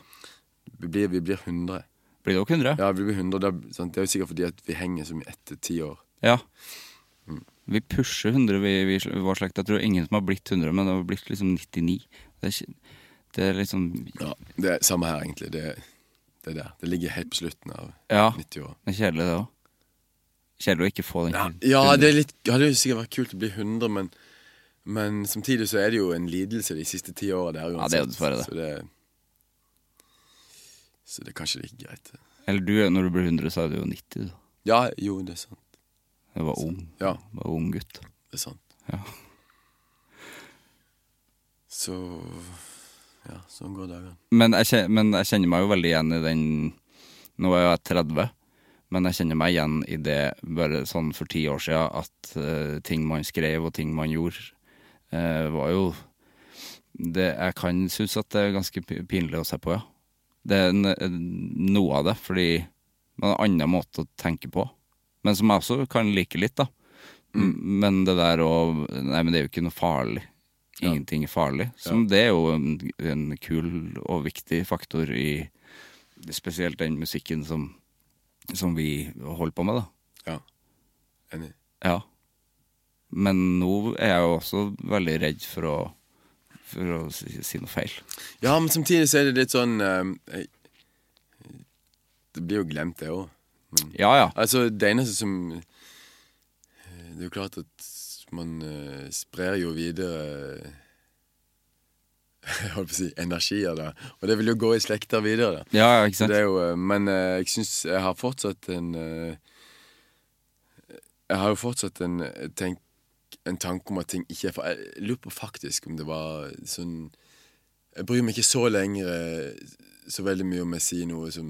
Vi blir, vi blir 100.
Blir det også 100?
Ja, vi blir 100, da, sant? det er jo sikkert fordi at vi henger så mye etter ti år.
Ja.
Mm.
Vi pusher 100, vi, vi sl- vår slekt. Jeg tror ingen som har blitt 100, men det har blitt liksom 99. Det er, ikke, det er liksom
Ja, det er samme her egentlig. Det, det er der. Det ligger helt på slutten av
Ja.
90 år.
Det er kjedelig, det òg. Kjedelig å ikke få den.
Ja,
kul-
ja
100.
det er litt, hadde jo sikkert vært kult å bli 100, men, men samtidig så er det jo en lidelse de siste ti åra der
Ja, det er jo dessverre det.
Så det, så det er kanskje like greit. det.
Eller du, når du blir 100, så er du jo 90. Da.
Ja, jo, det er sant.
Du var ung.
Ja.
Du var ung gutt.
Det er sant.
Ja.
Så Ja, sånn går dagene.
Men jeg, kje- men jeg kjenner meg jo veldig igjen i den Nå er jo jeg 30, men jeg kjenner meg igjen i det bare sånn for ti år siden at eh, ting man skrev og ting man gjorde, eh, var jo det, Jeg kan synes at det er ganske pi- pinlig å se på, ja. Det er n- noe av det, fordi man har en annen måte å tenke på. Men som jeg også kan like litt, da. M- Men det der å Nei, men det er jo ikke noe farlig. Ingenting er farlig. Som det er jo en, en kul og viktig faktor i spesielt den musikken som, som vi holder på med, da.
Ja. Enig.
Ja. Men nå er jeg jo også veldig redd for å, for å si, si noe feil.
Ja, men samtidig så er det litt sånn eh, jeg, Det blir jo glemt, det òg.
Ja ja.
Altså, det eneste som eh, Det er jo klart at man eh, sprer jo videre Jeg holdt på å si energier, da. Og det vil jo gå i slekter videre, da.
Ja, ja, ikke
Så
sant?
det er jo, eh, men eh, jeg syns jeg har fortsatt en eh, Jeg har jo fortsatt en, eh, tenk, en tanke om at ting ikke er for Jeg lurer på faktisk om det var sånn Jeg bryr meg ikke så lenger eh, så veldig mye om jeg sier noe som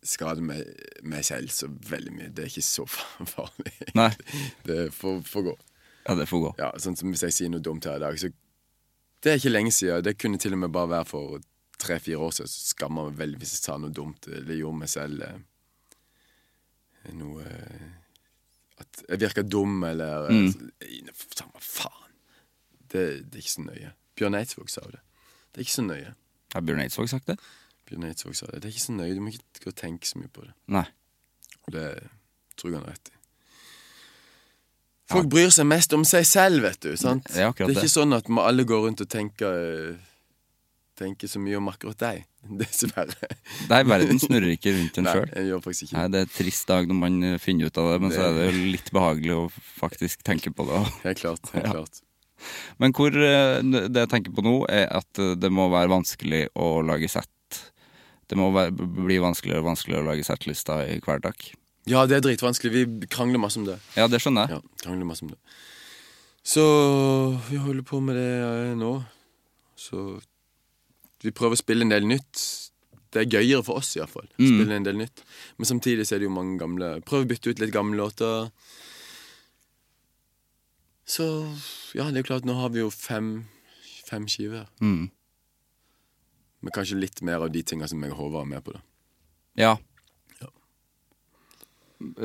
skader meg, meg selv så veldig mye. Det er ikke så fa- farlig.
Nei.
Det får, får gå.
Ja, det får gå.
Ja, sånn som Hvis jeg sier noe dumt her i dag, så Det er ikke lenge siden. Det kunne til og med bare være for tre-fire år siden. Så skammer jeg meg veldig hvis jeg sa noe dumt eller gjorde meg selv eh, noe eh, At jeg virker dum eller eh, så- nei, for Samme faen. Det, det er ikke så nøye. Bjørn Eidsvåg sa jo det. Det er ikke så nøye.
Har Bjørn Eidsvåg sagt det?
Bjørn Eidsvåg sa det. Det er ikke så nøye. Du må ikke gå og tenke så mye på det.
Nei.
Og det tror jeg han har rett i. Folk bryr seg mest om seg selv, vet du. sant?
Det er akkurat
det er
det.
ikke sånn at ma- alle går rundt og tenker, eh, tenker så mye om akkurat deg. Dessverre.
Nei, verden snurrer ikke rundt en
Nei,
sjøl.
jeg gjør faktisk ikke
Nei,
det.
det er en trist dag når man eh, finner ut av det, men så er det jo litt behagelig å faktisk tenke på det.
Helt klart. helt
Ja.
klart.
Men hvor eh, det jeg tenker på nå, er at eh, det må være vanskelig å lage sett. Det må være, bli vanskeligere og vanskeligere å lage settlister i hverdag.
Ja, det er dritvanskelig. Vi krangler masse om det.
Ja, det skjønner jeg.
Ja, krangler masse om det. Så vi holder på med det eh, nå. Så vi prøver å spille en del nytt. Det er gøyere for oss, iallfall. Mm. Spille en del nytt. Men samtidig så er det jo mange gamle Prøv å bytte ut litt gamle låter. Så ja, det er jo klart, nå har vi jo fem, fem skiver.
Mm.
Men kanskje litt mer av de tinga som jeg og Håvard er med på. da
Ja.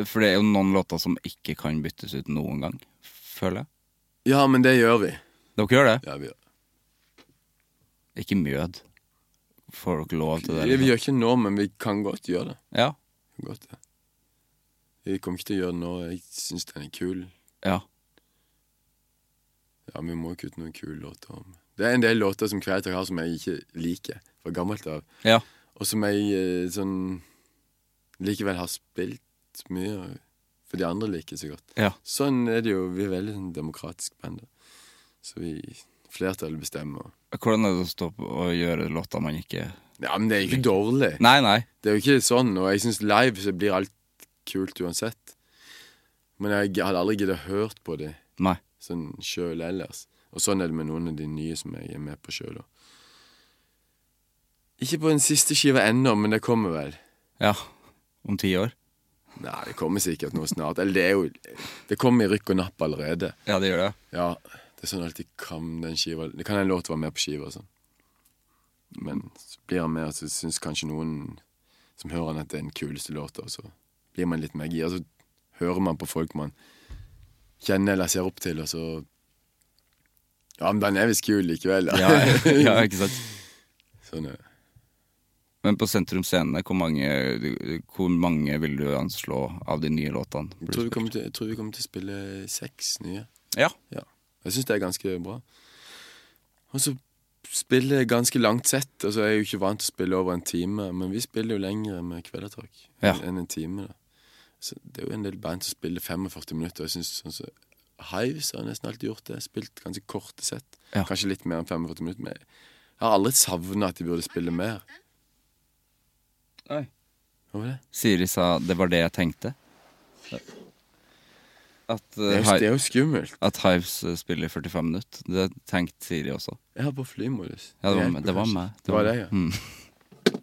For det er jo noen låter som ikke kan byttes ut noen gang, føler jeg.
Ja, men det gjør vi.
Dere gjør det?
Ja, vi, gjør.
Ikke mjød. Får dere lov til det? liksom?
vi, vi gjør ikke nå, men vi kan godt gjøre det.
Ja.
Vi kan Godt, ja. Vi kommer ikke til å gjøre det nå. Jeg syns den er kul.
ja.
Ja, vi må kutte noen kule låter om Det er en del låter som Kveiter har som jeg ikke liker fra gammelt av.
Ja.
Og som jeg eh, sånn likevel har spilt mye, og- for de andre liker så godt.
Ja.
Sånn er det jo. Vi er veldig sånn demokratisk band. da. Så vi flertallet bestemmer.
Hvordan er det å stå på og gjøre låter man ikke
Ja, men det er jo ikke dårlig.
Nei, nei.
Det er jo ikke sånn, og jeg syns live så blir alt kult uansett. Men jeg hadde aldri giddet hørt på det
Nei.
sånn sjøl ellers. Og sånn er det med noen av de nye som jeg er med på sjøl òg. Ikke på den siste skiva ennå, men det kommer vel.
Ja. Om ti år?
Nei, det kommer sikkert noe snart. Eller det er jo Det kommer i rykk og napp allerede.
Ja, det gjør det.
Ja, det er sånn alltid kan den skiva Det kan en låt være med på skiva og sånn. Men så blir han med, og så syns kanskje noen som hører han at det er den kuleste låta, og så blir man litt mer gira. Så hører man på folk man kjenner eller ser opp til, og så Ja, men den er visst kul likevel. da.
Ja, ja ikke sant?
sånn er det.
Men på Sentrum Scene, hvor mange, hvor mange vil du anslå av de nye låtene?
Jeg tror vi kommer til, jeg tror vi kommer til å spille seks nye.
Ja.
Ja. Jeg syns det er ganske bra. Og så spiller jeg ganske langt sett. Altså, jeg er jo ikke vant til å spille over en time, men vi spiller jo lengre med Kvelertak
Ja.
enn en time. da så Det er jo en del band som spiller 45 minutter. og Jeg synes, sånn som Hives har nesten alltid gjort det. Spilt ganske korte sett.
Ja.
Kanskje litt mer enn 45 minutter, men jeg har aldri savna at de burde spille mer.
Oi.
Hva var det?
Siri sa 'det var det jeg tenkte'. At,
Det
eh,
er jo, det
Hi-
er jo skummelt.
at Hives eh, spiller 45 minutter. Det tenkte Siri også.
Jeg har på flymodus.
Ja, det var
Jeg er
meg.
på
Det var
først.
meg. Mm.
Det var det, ja.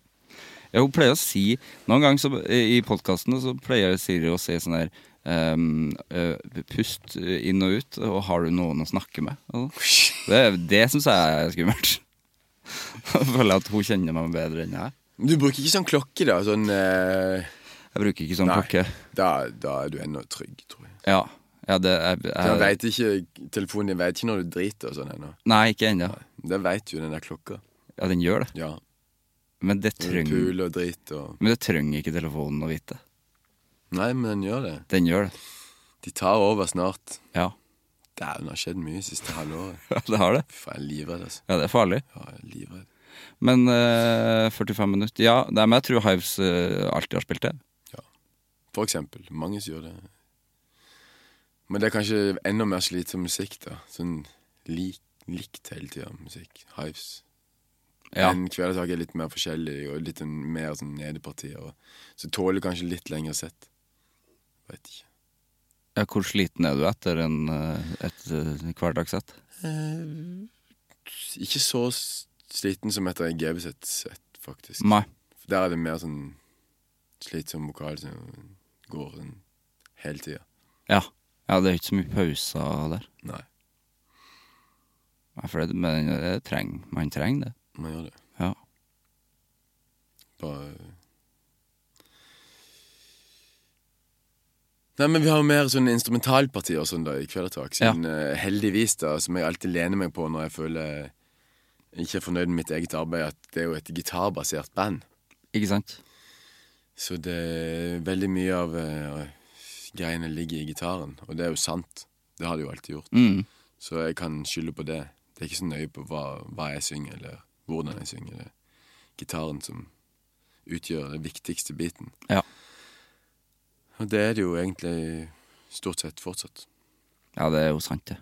Ja, hun pleier å si Noen ganger så, i podkastene så pleier Siri å si sånn her ehm, eh, Pust eh, inn og ut, og har du noen å snakke med? Og Det, det syns jeg er skummelt. Jeg føler at hun kjenner meg bedre enn jeg.
Men Du bruker ikke sånn klokke, da? Sånn eh,
Jeg bruker ikke sånn
Nei.
klokke.
da, da er du ennå trygg, tror jeg.
Ja, ja det jeg,
Den
jeg,
vet ikke, telefonen din vet ikke når du driter og sånn ennå.
Nei, ikke ennå.
Den vet jo, den der klokka.
Ja, den gjør det.
Ja.
Men det
Når du
trenger
puler og driter og
Men det trenger ikke telefonen å vite.
Nei, men den gjør det.
Den gjør det.
De tar over snart.
Ja,
Dæven, det har skjedd mye siste halvåret.
det har det.
Fy faen, jeg er livredd, altså.
Ja, det er farlig.
Ja, jeg er livredd.
Men eh, 45 minutter Ja, nei, men jeg tror Hives eh, alltid har spilt det.
For eksempel. Mange som gjør det. Men det er kanskje enda mer slitsom musikk, da. Sånn lik, likt hele tida musikk. Hives.
Ja.
Men Kvelertak er litt mer forskjellig og litt en- mer sånn nedepartier. og- Så tåler kanskje litt lengre sett. Veit ikke.
Ja, hvor sliten er du etter en, eh, et eh, hverdagssett?
Ikke så s- sliten som etter en GB sitt sett, faktisk.
Nei.
For der er det mer sånn slitsom vokal som går sånn hele tida.
Ja. ja, det er ikke så mye pauser der.
Nei,
Nei, for det, men det trenger, man trenger det.
man gjør det.
Ja.
Bare eh, Nei, men vi har jo mer sånn instrumentalpartier og sånn da i Kvelertak.
Ja.
Sånn, eh, heldigvis, da, som jeg alltid lener meg på når jeg føler jeg ikke er fornøyd med mitt eget arbeid, at det er jo et gitarbasert band.
Ikke sant?
Så det er veldig mye av eh, greiene ligger i gitaren, og det er jo sant. Det har det jo alltid gjort.
Mm.
Så jeg kan skylde på det. Det er ikke så nøye på hva, hva jeg synger, eller hvordan jeg synger. Det er gitaren som utgjør den viktigste biten.
Ja.
Og det er det jo egentlig stort sett fortsatt.
ja, det er jo sant, det.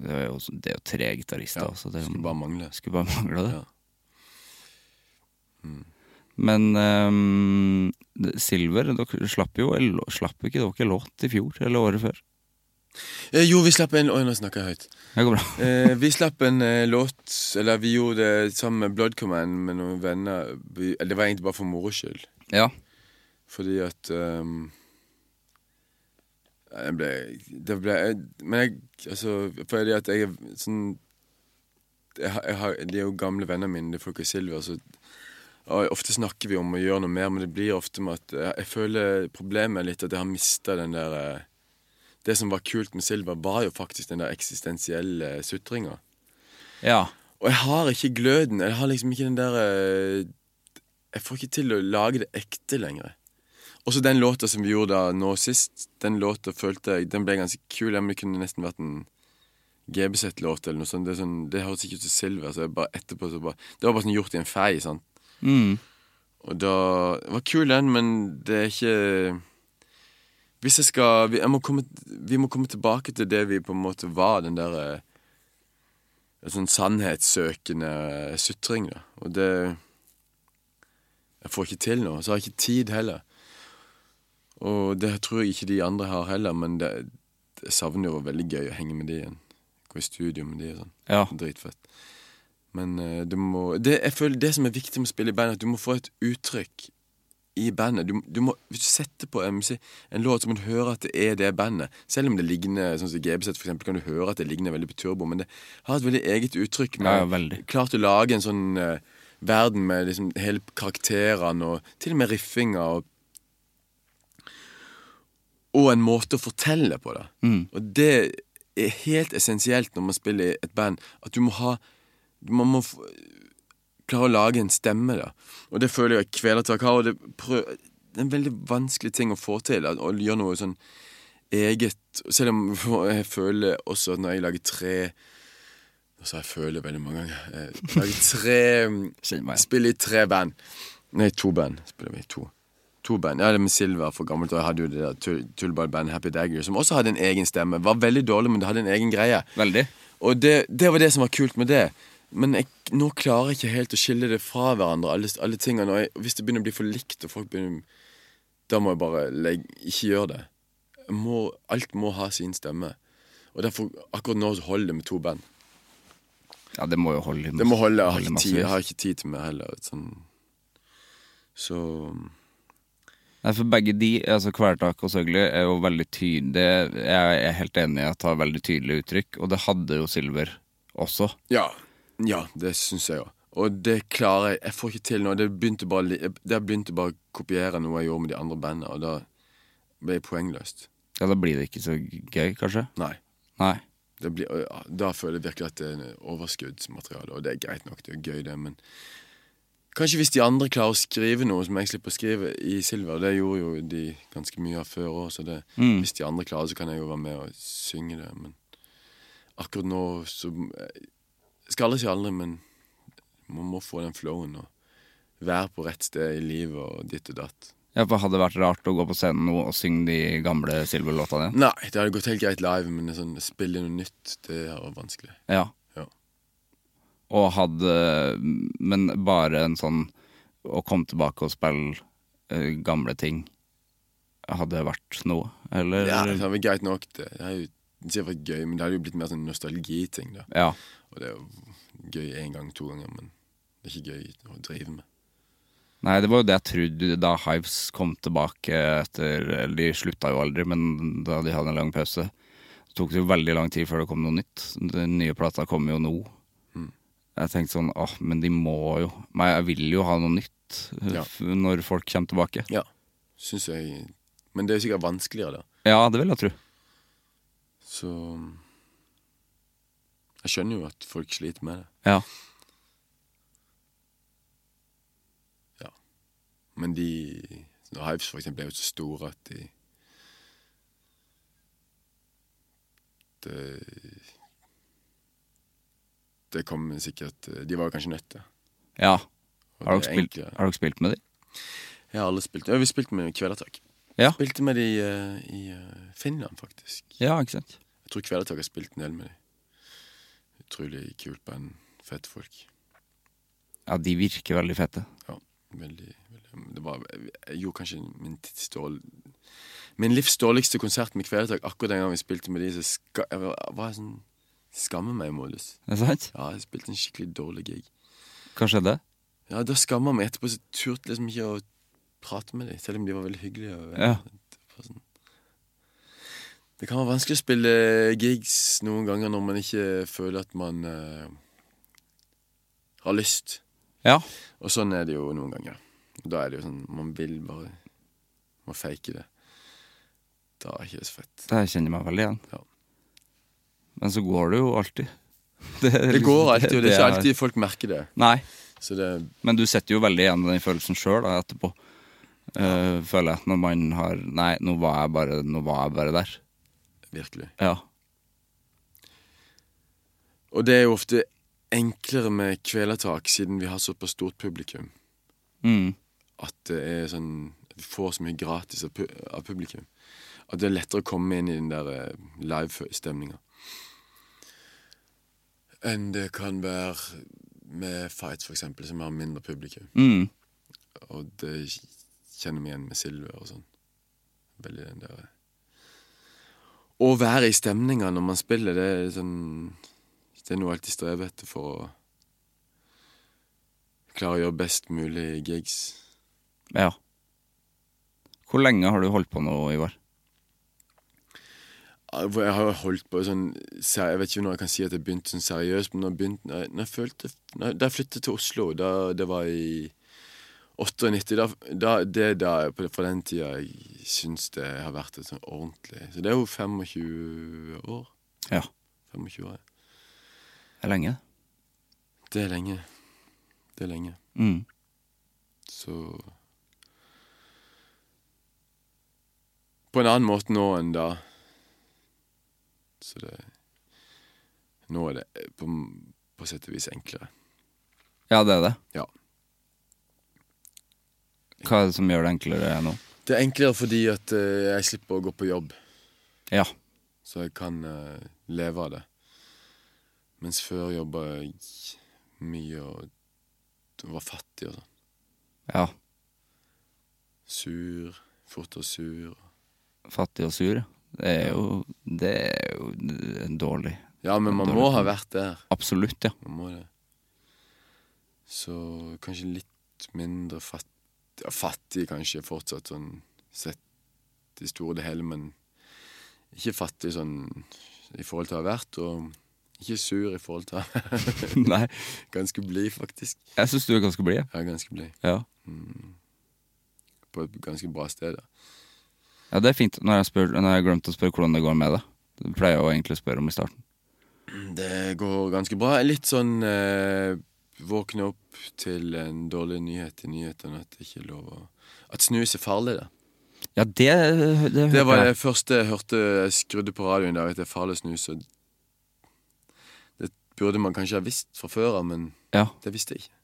Det er jo, det er jo tre gitarister, altså. Det er jo-
Mm. Skulle bare mangle.
Skulle bare mangle det.
Ja. Mm.
Men ehm, Silver, dere slapp jo Slapp ikke dere låt i fjor eller året før?
Eh, jo, vi slapp en Oi, nå snakker jeg høyt.
Det går bra.
Eh, vi slapp en eh, låt Eller vi gjorde det sammen med Blood Command med noen venner. Vi, eller det var egentlig bare for moro skyld.
Ja.
Fordi at ehm, Jeg ble Det ble jeg- Men jeg Altså, fordi at jeg er sånn jeg, har- jeg har, De er jo gamle venner mine, de folka i Silver. Så, og ofte snakker vi om å gjøre noe mer, men det blir ofte med at jeg, jeg føler problemet er litt at jeg har mista den der eh, Det som var kult med Silver, var jo faktisk den der eksistensielle sutringa.
Ja.
Og jeg har ikke gløden. Jeg har liksom ikke den der eh, Jeg får ikke til å lage det ekte lenger. Også den låta som vi gjorde da nå sist, den låta følte jeg Den ble ganske kul. Den kunne nesten vært en GBZ-låt eller noe sånt. Det, er sånn, det høres ikke ut som Silver. Så jeg bare etterpå så bare, Det var bare sånn gjort i en fei. sant?
Mm.
Og da Det var kul, den, men det er ikke Hvis jeg skal vi, jeg må komme, vi må komme tilbake til det vi på en måte var, den derre en sånn sannhetssøkende sutring. Da. Og det Jeg får ikke til noe. Så har jeg ikke tid heller. Og det tror jeg ikke de andre har heller, men det, jeg savner jo veldig gøy å henge med de igjen. Gå i studio med de og sånn.
Ja.
Dritfett. Men eh, du må det, Jeg føler det som er viktig med å spille i band, er at du må få et uttrykk i bandet. Du, du må, hvis du setter på en, musikk- en låt, så må du høre at det er det bandet. Selv om det ligner sånn som GBZ, for eksempel, kan du høre at det ligner veldig på Turbo, men det har et veldig eget uttrykk. men
Ja, ja, veldig.
Klart å lage en sånn eh, verden med liksom hele karakterene og til og med riffinga og og en måte å fortelle på det.
Mm.
Og det er helt essensielt når man spiller i et band, at du må ha Man må f- klare å lage en stemme, da. Og det føler jeg at Kvelertak har, og det, prøv, det er en veldig vanskelig ting å få til. at- Å gjøre noe sånn eget Selv om jeg føler også at når jeg lager tre Nå sa jeg 'føler' veldig mange ganger. Eh, Lager
Kjenner
tre mm,
meg.
Spiller i tre band. Nei, to band. Spiller vi i to. To band, ja det med Silver for gammelt Og jeg hadde jo det der tull- tullballbandet Happy Dagger Som også hadde en egen stemme Var veldig dårlig, men det hadde en egen greie
Veldig.
Og det, det var det som var kult med det Men jeg, nå klarer jeg ikke helt å skille det fra hverandre Alle, alle tingene Og jeg, hvis det begynner å bli for likt Og folk begynner Da må jeg bare legge, ikke gjøre det Jeg må, Alt må ha sin stemme Og derfor, akkurat nå så holder det med to band
Ja, det må jo holde.
det må holde. Jeg har ikke
holde
tid, jeg
massevis.
har ikke tid til meg heller. Sånn. Så
Nei, for begge de, altså Kvelertak og Søgli, er jo veldig tydelige Jeg er helt enig i at det har veldig tydelige uttrykk, og det hadde jo Silver også.
Ja. ja det syns jeg òg. Og det klarer jeg. Jeg får ikke til nå. Det begynte bare li- jeg- det begynte bare å kopiere noe jeg gjorde med de andre bandene, og da ble jeg poengløst.
Ja, da blir det ikke så gøy, kanskje?
Nei.
Nei.
Det blir, og ja, da føler jeg virkelig at det er overskuddsmateriale, og det er greit nok. Det er gøy, det, men Kanskje hvis de andre klarer å skrive noe som jeg slipper å skrive i Silver. Det gjorde jo de ganske mye av før òg, så det, hvis de andre klarer, så kan jeg jo være med og synge det. Men akkurat nå så Jeg skal aldri si aldri, men man må få den flowen og være på rett sted i livet og ditt og datt.
Ja, for hadde det vært rart å gå på scenen nå og synge de gamle Silver-låtene igjen?
Nei, det hadde gått helt greit live, men det er sånn, spille noe nytt, det er vanskelig.
Ja.
Ja.
Og hadde Men bare en sånn Å komme tilbake og spille eh, gamle ting hadde vært noe, eller?
Ja, det hadde vært greit nok. Det Det hadde jo det hadde vært gøy, men det hadde jo blitt mer sånn nostalgiting. da.
ja.
Og det er jo gøy én gang, to ganger, men det er ikke gøy å drive med.
Nei, det var jo det jeg trodde da Hives kom tilbake etter Eller de slutta jo aldri, men da de hadde en lang pause. Så tok det jo veldig lang tid før det kom noe nytt. Den nye plata kom jo nå. Jeg tenkte sånn åh, men de må jo Nei, jeg vil jo ha noe nytt eh,
Ja.
f- når folk kommer tilbake.
Ja, synes jeg. Men det er jo sikkert vanskeligere, da.
Ja, det vil jeg tro.
Så Jeg skjønner jo at folk sliter med det.
Ja.
Ja. Men de når Hives for eksempel er jo så store at de Det Det kommer sikkert eh, De var jo kanskje nødt til
ja.
Og
Har,
det
dere
er
spilt,
enklere.
har dere spilt med de?
Jeg har aldri spilt Ja, vi spilte med Kvelertak.
Ja.
Spilte med de eh, i eh, Finland, faktisk.
ja, ikke sant?
Jeg tror Kvelertak har spilt en del med de. Utrolig kult band. Fett folk.
Ja, de virker veldig fete.
Ja, veldig, veldig Det var Jeg gjorde kanskje min tids dårl- Min livs dårligste konsert med Kvelertak akkurat den gangen vi spilte med de, så ska, jeg var, var sånn Skammer meg-modus.
Er det sant?
Ja, jeg spilte en skikkelig dårlig gig.
Hva skjedde?
Ja, da skammer jeg meg etterpå, så turte jeg liksom ikke å prate med dem, selv om de var veldig hyggelige. Og,
Ja.
det var sånn. Det kan være vanskelig å spille gigs noen ganger når man ikke føler at man eh, har lyst.
Ja.
Og sånn er det jo noen ganger. Da er det jo sånn Man vil bare Man fake det. Da er ikke det så fett.
Det her kjenner jeg meg veldig igjen.
Ja.
Men så går det jo alltid. Det, er
Det
liksom-
går alltid, og det er ikke
er-
alltid folk merker det.
Nei,
Så det
men du setter jo veldig igjen den følelsen sjøl etterpå. Eh, føler jeg, når man har Nei, nå var jeg bare, nå var jeg bare der.
virkelig
Ja.
Og det er jo ofte enklere med kvelertak, siden vi har såpass stort publikum.
Mm.
At det er sånn at Vi får så mye gratis av, pu av publikum. At det er lettere å komme inn i den der eh, live-stemninga. Enn det kan være med Fight, for eksempel, som har mindre publikum.
Mm.
Og det kjenner vi igjen med Silver og sånn. Veldig den der eh, Å være i stemninga når man spiller, det er sånn Det er noe jeg alltid strever etter for å klare å gjøre best mulig gigs.
Ja. Hvor lenge har du holdt på nå, Ivar?
Ah, Hvor Jeg har jo holdt på sånn ser- Jeg vet ikke når jeg kan si at jeg begynte sånn seriøst, men når jeg begynte når jeg, når jeg følte når jeg, Da jeg flyttet til Oslo, da det var i 98 da, da, Det er da jeg- på- fra den tida jeg syns det har vært et sånn ordentlig Så det er jo 25 år.
Ja.
25 år. ja.
Det er lenge, det.
Det er lenge. Det er lenge.
Mm.
Så På en annen måte nå enn da. Så det Nå er det eh, på, på sett og vis enklere.
Ja, det er det.
Ja.
Hva er det som gjør det enklere nå?
Det er enklere fordi at eh, jeg slipper å gå på jobb,
Ja.
så jeg kan eh, leve av det. Mens før jobba jeg mye og var fattig og sånn.
ja.
Sur. Fort og sur.
Fattig og sur. ja. Det er jo Det er jo dårlig.
Ja, men man må ha vært der.
Absolutt, ja.
Man må det. Så kanskje litt mindre fattig ja, Fattig kanskje fortsatt sånn sett i store det hele, men ikke fattig sånn i forhold til å ha vært, og ikke sur i forhold til å ha vært.
Nei,
Ganske blid, faktisk.
jeg syns du er ganske blid. jeg.
Ja, ganske blid.
Ja.
På et ganske bra sted. da.
ja, det er fint når jeg, spør, når jeg glemte å spørre hvordan det går med det. Det pleier jeg jo egentlig å spørre om i starten.
Det går ganske bra. Litt sånn eh, våkne opp til en dårlig nyhet i nyhetene, at det ikke er lov å At snus er farlig, da.
Ja, det Det,
Det var
hørte jeg.
det første jeg hørte jeg skrudde på radioen der, at det er farlig å snuse. og Det burde man kanskje ha visst fra før av, men
Ja.
det visste jeg ikke.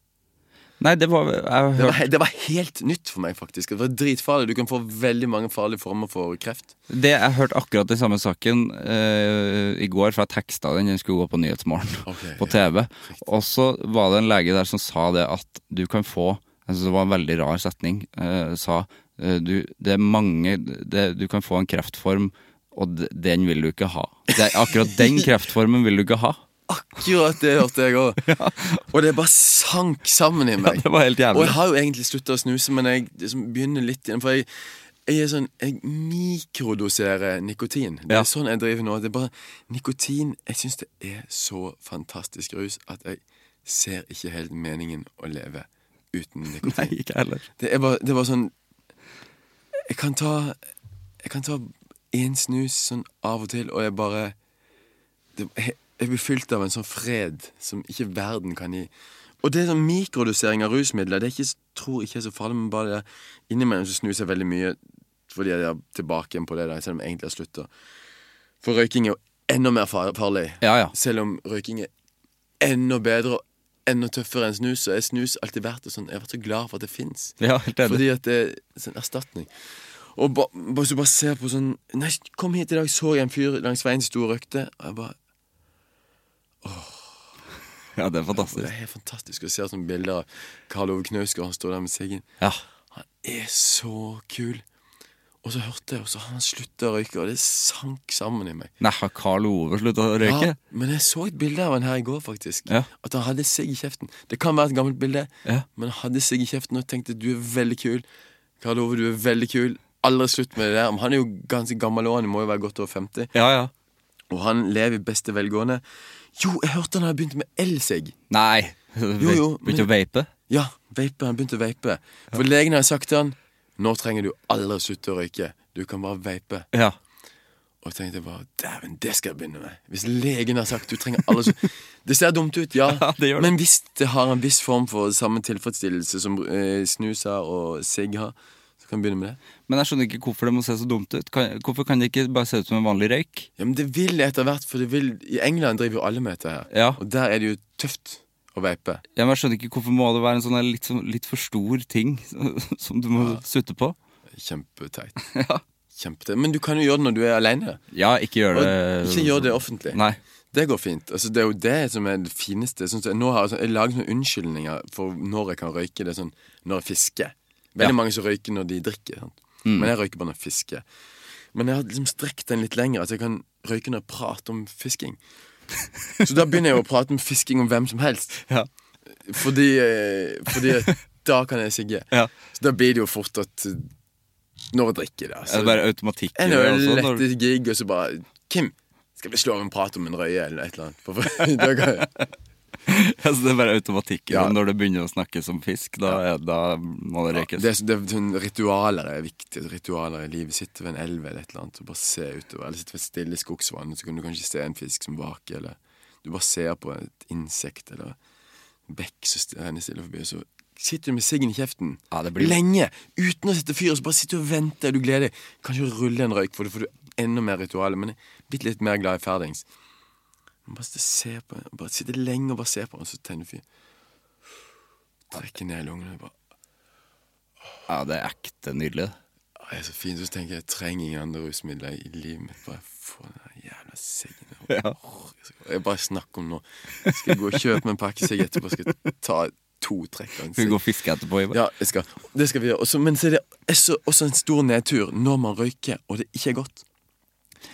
Nei, det var Jeg
Det var,
hørte
he- det var helt nytt for meg, faktisk. Det var dritfarlig. Du kan få veldig mange farlige former for kreft.
Det jeg hørte akkurat den samme saken eh, i går, for jeg teksta den. Den skulle gå på Nyhetsmorgen
Ok,
på TV. Og så var det en lege der som sa det at du kan få altså Det var en veldig rar setning. eh, sa eh, du, det er mange det, Du kan få en kreftform, og d- den vil du ikke ha. Det er akkurat den kreftformen vil du ikke ha.
Akkurat det hørte jeg òg. Og det bare sank sammen i meg.
det var helt jævlig.
Og jeg har jo egentlig slutta å snuse, men jeg liksom begynner litt igjen. For jeg, jeg er sånn Jeg mikrodoserer nikotin. Det
Ja.
er sånn jeg driver nå. Det er bare Nikotin Jeg syns det er så fantastisk rus at jeg ser ikke helt meningen å leve uten nikotin.
Nei, ikke heller.
Det er bare, det var sånn Jeg kan ta Jeg kan ta en snus sånn av og til, og jeg bare det, jeg, jeg blir fylt av en sånn fred som ikke verden kan gi. Og det er sånn mikrodosering av rusmidler. Det er ikke, tror ikke er så farlig, men bare det der innimellom så snuser jeg veldig mye fordi jeg er tilbake igjen på det, der, selv om jeg egentlig har slutta. For røyking er jo enda mer far- farlig.
Ja, ja.
Selv om røyking er enda bedre og enda tøffere enn snus, så er snus alltid verdt det. Sånn. Jeg har vært så glad for at det fins.
Ja, helt enig.
Fordi at det er sånn erstatning. Og ba, bare, så bare ser på sånn Nei, kom hit i dag, så jeg en fyr langs veien som sto og røykte. Og jeg bare,
Ja, det er
Det
fantastisk.
er helt fantastisk å se sånne bilder av Karl Ove Knausgård. Han står der med siggen.
Ja.
Han er så kul. Og så hørte jeg, og så har han slutta å røyke, og det sank sammen i meg.
Nei, har Karl Ove slutta å røyke?
Ja, men jeg så et bilde av han her i går, faktisk.
Ja.
At han hadde sigg i kjeften. Det kan være et gammelt bilde,
Ja.
men han hadde sigg i kjeften og tenkte du er veldig kul. Karl Ove, du er veldig kul. Aldri slutt med det der. Men Han er jo ganske gammel òg, han må jo være godt over 50.
Ja, ja.
Og han lever i beste velgående. Jo, jeg hørte han hadde begynt med elsigg.
Nei.
Jo, jo,
Begynte å vape?
Ja, vape, han begynte å vape. For legen hadde sagt til han Nå trenger du aldri å slutte å røyke. Du kan bare vape.
Ja.
Og jeg tenkte bare Dæven, det skal jeg begynne med. Hvis legen har sagt du trenger alle så Det ser dumt ut, ja.
Ja, det gjør det.
Men hvis det har en viss form for samme tilfredsstillelse som eh, snuser og sigg har, så kan vi begynne med det.
Men jeg skjønner ikke hvorfor det må se så dumt ut. Kan, hvorfor kan det ikke bare se ut som en vanlig røyk?
Ja, Men det vil etter hvert, for det vil I England driver jo alle med dette her.
Ja.
Og der er det jo tøft å vape.
Ja, men jeg skjønner ikke hvorfor må det være en sånn her litt, sånn- litt for stor ting som du må sutte på.
Kjempeteit.
Ja.
Kjempeteit. Men du kan jo gjøre det når du er aleine.
ja, ikke gjør det
Ikke gjør det offentlig.
Nei.
Det går fint. Altså, det er jo det som er det fineste. Sånn, som jeg nå har jeg sånn, jeg lager sånne unnskyldninger for når jeg kan røyke. Det er sånn når jeg fisker. Veldig
Ja. Mm.
mange som røyker når de drikker. Sant? Men jeg røyker bare når jeg fisker. Men jeg har liksom strekt den litt lenger, at jeg kan røyke når jeg prater om fisking. Så da begynner jeg jo å prate om fisking om hvem som helst.
Ja.
Fordi, eh, fordi at da kan jeg sigge.
Ja.
Så da blir det jo fort at eh, Når jeg drikker, da.
Det
Så
er bare automatikk. i
en
det
øl,
også, sånn, når-
etter gig, og så bare Kim, skal vi slå av en prat om en røye eller et eller annet? For- for- da kan jeg-
Altså, det er bare automatikk. i
Ja.
det. Når det begynner å snakke som fisk, da, er- da må det røykes.
det, er så- det, er sånn ritualer er viktig. at Ritualer i livet. Sitte ved en elv eller et eller annet og bare se utover. Eller sitte ved et stille skogsvann, så kan du kanskje se en fisk som vaker, eller du bare ser på et insekt eller en bekk som st- renner stille forbi, og så sitter du med siggen i kjeften
Ja, det blir-
lenge uten å sette fyr, og så bare sitter du og venter, og du gleder deg. Kanskje du ruller en røyk, for da får du enda mer ritualer, men jeg er blitt litt mer glad i ferdings. Men Bare sitte, og se på, den, bare sitte lenge og bare se på den, og så tenner du fyr. Trekker ned lungene og bare
Ja, det er ekte nydelig. det.
«Å, Jeg er så fin, så tenker jeg jeg trenger ingen andre rusmidler i livet mitt. Bare få den der jævla siggen. der. Åh, jeg skal- Jeg bare snakker om nå. Skal jeg gå og kjøpe meg en pakke sigg etterpå? Skal jeg ta to trekk av en
Skal vi
sigg?
gå og fiske etterpå? Ivar?
Ja, jeg skal. det skal vi gjøre. Også, men så er det også, også en stor nedtur når man røyker, og det ikke er godt.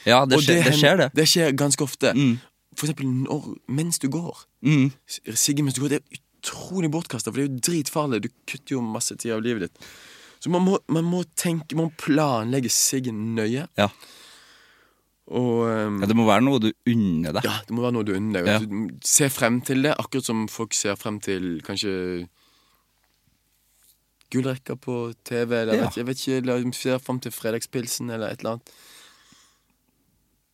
ja det,
Og
skjer, det
hen-
skjer, det. Mm.
Det skjer ganske ofte. For eksempel når, mens du går. S- Sigge mens du går, det er utrolig bortkasta, for det er jo dritfarlig. Du kutter jo masse tid av livet ditt. Så man må, man må tenke, man må planlegge siggen nøye.
Ja.
Og ehm,
ja, Det må være noe du unner deg.
ja, det må være noe du unner
Ja.
deg. Altså, Du Se frem til det, akkurat som folk ser frem til kanskje Gul rekke på TV, eller
Ja.
vet, jeg vet ikke, eller de ser frem til fredagspilsen, eller et eller annet.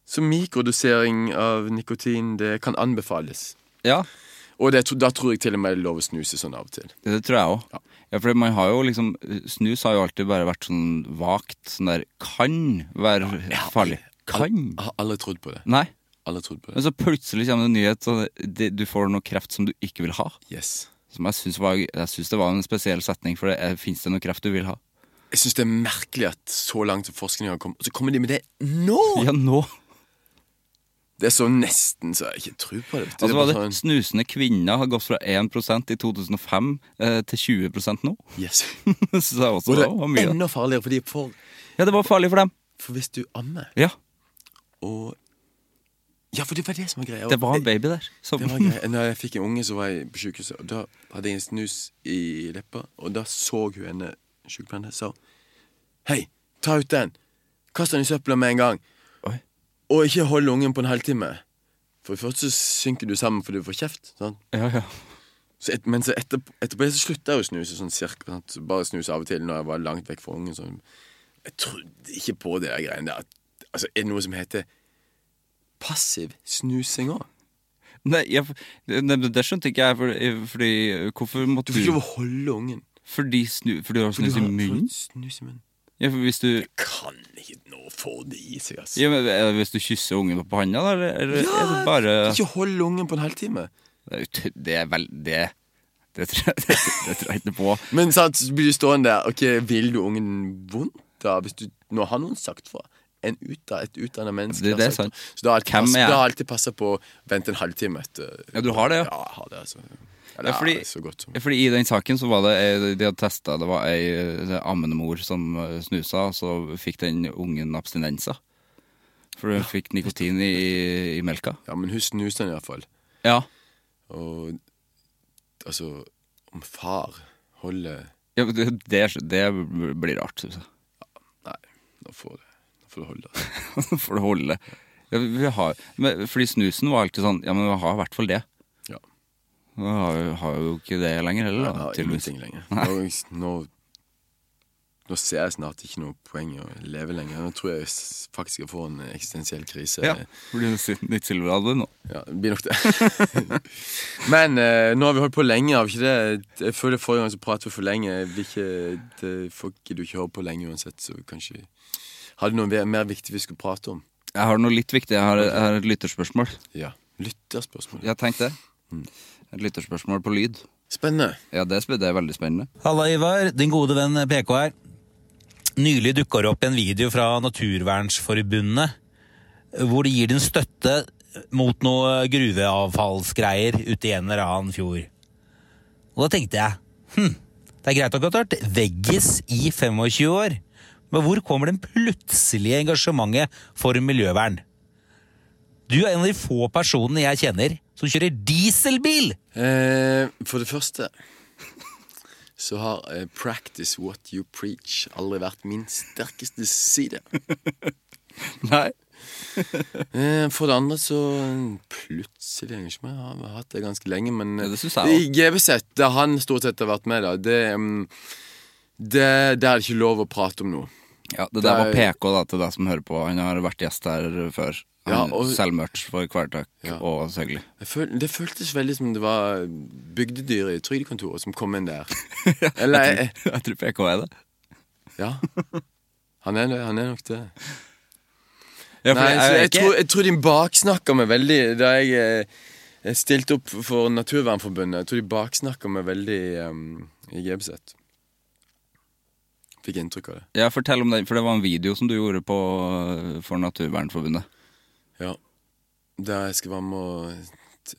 Så mikrodosering av nikotin, det kan anbefales.
Ja,
Og det, da tror jeg til og med det er lov å snuse sånn av og til.
Det tror jeg òg.
Ja.
Ja. for man har jo liksom Snus har jo alltid bare vært sånn vagt sånn der Kan være farlig. Kan?
Jeg har aldri trodd på det.
Nei.
Aldri trodd på det.
Men så plutselig kommer det en nyhet, og det- du får noe kreft som du ikke vil ha.
Yes.
Som jeg syns var, jeg synes det var en spesiell setning, for det fins det noe kreft du vil ha?
Jeg syns det er merkelig at så langt forskningen har kommet, så kommer de med det nå!
Ja, nå!
Det er så nesten så jeg ikke tror på det. vet du.
Altså var
Det er
det
bare sånn-
Snusende kvinner har gått fra 1 i 2005 eh, til 20 nå.
sånn, Yes.
Det synes jeg også
Og det
var var
er
mye.
enda farligere, fordi for,
Ja, det var farlig for dem.
for hvis du ammer
Ja,
og Ja, for det var det som var greia.
det var en
Jeg-
baby der. Som,
det var greia. Når jeg fikk en unge, så var jeg på sykehuset, og da hadde jeg en snus i leppa, og da så hun henne sykepleieren og sa Hei, ta ut den! Kast den i søpla med en gang!
Oi.
Og ikke hold ungen på en halvtime. For først så synker du sammen fordi du får kjeft. sant?
ja, ja.
Så et, men så etter, etterpå det så slutta jeg å snuse sånn cirka. Sant? Så Bare snuse av og til når jeg var langt vekk fra ungen. Sånn. Jeg trodde ikke på det der greiene der. At- Altså, er det noe som heter passiv snusing òg?
Nei, jeg, det, det skjønte ikke jeg, fordi, fordi eh, Hvorfor
Du
måtte
får
du
ikke lov å holde ungen.
Fordi, snu, fordi Mm. du har
For du
snus i
har-
munnen?
for Snus i munnen.
Ja, for hvis du
Kan ikke nå få det i seg, altså.
ja, men, er det Hvis du kysser ungen på panna, da? Eller, eller er det bare
Ikke hold ungen på en halvtime.
Det er ut- Det er vel Det, det, tror, jeg, det, det tror jeg ikke på.
Men sant, så blir du stående der. Ok, Vil du ungen vondt, da? Hvis du, nå har noen sagt fra. En utda, et utdannet menneske.
Det- det
har
er
sagt
sant.
fra. Så da har alltid,
Hvem
pass,
er jeg?
da har alltid passa på å vente en halvtime etter.
Ja, du har det, ja.
Ja, jeg har det altså. Eller,
Ja, fordi,
ja, så godt som.
fordi I den saken så var det ei- De hadde testa Det var ei eh, ammende mor som eh, snusa, og så fikk den ungen abstinenser. For hun fikk nikotin i, i melka.
Ja, men hun snuste den iallfall.
Ja.
Og altså Om far holder
ja men det, det, det blir rart, syns jeg.
Nei, nå får det Nå får det holde. altså.
For det holder. Ja, vi- vi har, men, fordi snusen var alltid sånn Ja, men vi har i hvert fall det.
Ja.
Nå har jo, har jo ikke det lenger heller,
Jeg
da.
har
tydeligvis.
ingenting lenger. Nå, nå, nå ser jeg snart ikke noe poeng i å leve lenger. Nå tror jeg s- faktisk jeg får en eksistensiell krise.
Ja, det blir det nytt silveralbum nå.
Ja, det blir nok det. Men eh, nå har vi holdt på lenge, har vi ikke det? Jeg føler forrige gang så pratet vi for lenge. Jeg vil ikke, det, folk gidder jo ikke høre på lenge uansett, så vi kanskje Hadde noe ve- mer viktig vi skulle prate om?
Jeg har noe litt viktig. Jeg har, jeg har et lytterspørsmål.
Ja. Lytterspørsmål.
Jeg har tenkt det.
Mm.
Et lytterspørsmål på lyd.
Spennende.
Ja, det, sp- det er veldig spennende.
Halla, Ivar. Din gode venn PK her. Nylig dukka det opp en video fra Naturvernsforbundet eh, hvor de gir din støtte mot noe gruveavfallsgreier ute i en eller annen fjord. Og da tenkte jeg hm, det er greit nok at du har vært veggis i 25 år, men hvor kommer den plutselige engasjementet for miljøvern? Du er en av de få personene jeg kjenner som kjører dieselbil!
Eh, for det første så har eh, 'practice what you preach' aldri vært min sterkeste side.
Nei.
Eh, for det andre så eh, plutselig engasjement. Jeg har hatt det ganske lenge, men eh,
Ja, det synes jeg
i GBZ, der han stort sett har vært med, da, det, mm, det Der er det ikke lov å prate om noe.
Ja, det der var
Det er-
PK da, til deg som hører på. Han har vært gjest her før.
Ja,
Han
og-
selger merch for Kvelertak og Søgli.
Jeg føl, det føltes veldig som det var bygdedyret i trygdekontoret som kom inn der. Eller eh,
Jeg tror PK er det.
Ja. Han er, det- han er nok det.
Ja, for
Nei,
jeg,
så
er
jeg,
ikke-
tror, jeg tror de baksnakker meg veldig da jeg, eh, jeg stilte opp for Naturvernforbundet. Jeg tror de baksnakker meg veldig em, i GBZ. Fikk inntrykk av det.
ja, fortell om den, for det var en video som du gjorde på, øh, for Naturvernforbundet.
Ja. Der jeg skal være med og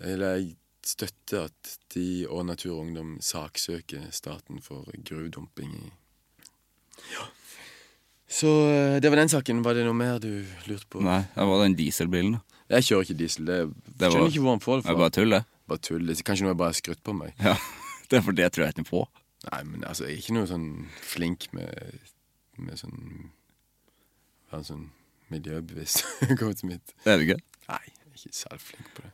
Eller jeg støtter at de og Natur og Ungdom saksøker staten for gruvedumping i Ja. Så eh, det var den saken. Var det noe mer du lurte på?
Nei, det var den dieselbilen. da.
Jeg kjører ikke diesel. Det,
Det var-
skjønner ikke hvor han får det
Det
fra.
er bare tull, det.
Bare tull. Det er Kanskje noe jeg bare har skrutt på meg.
Ja, det er for det tror jeg ikke noe på.
Nei, men altså, jeg er ikke noe sånn flink med, med sånn Være sånn miljøbevisst. Kom til mitt.
Det er det ikke.
Nei, jeg er ikke særlig flink på det.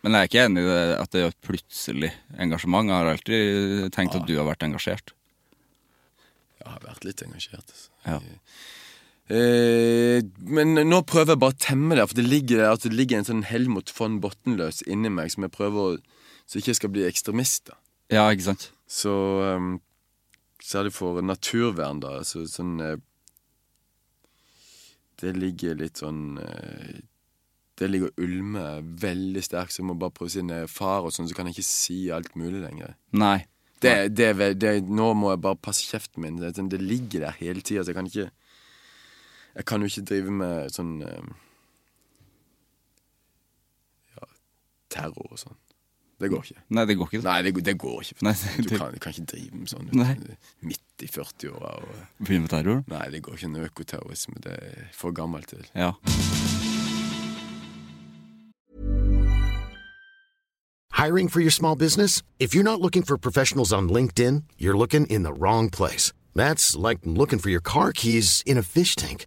Men jeg er ikke enig i det, at det er et plutselig engasjement. Jeg har alltid tenkt at du har vært engasjert.
Jeg har vært litt engasjert. Altså.
Ja.
Eh, men nå prøver jeg bare å temme det, for det ligger, at det ligger en sånn Helmut von Bottenløs inni meg som jeg prøver å Så ikke jeg skal bli ekstremist, da.
Ja, ikke sant?
Så um, særlig for naturvern, da. Så, sånn eh, Det ligger litt sånn eh, Det ligger og ulmer veldig sterkt, så jeg må bare prøve å si når jeg er far og sånn, så kan jeg ikke si alt mulig lenger.
Nei.
Det, det, er vel- det, nå må jeg bare passe kjeften min. Det, er sånn, det ligger der hele tida, så jeg kan ikke Jeg kan jo ikke drive med sånn eh, Ja, terror og sånn. Det går ikke.
Nei, det går ikke.
Nei, det, går- det går ikke.
Nei,
du,
det-
kan, du kan ikke drive med sånn
Nei.
midt i 40-åra. og-
Begynne med terror?
Nei, det går ikke en økoterrorisme. Det er for gammelt til.
Ja.
Hiring for your small business? If you're not looking for professionals on LinkedIn, you're looking in the wrong place. That's like looking for your car keys in a fish tank.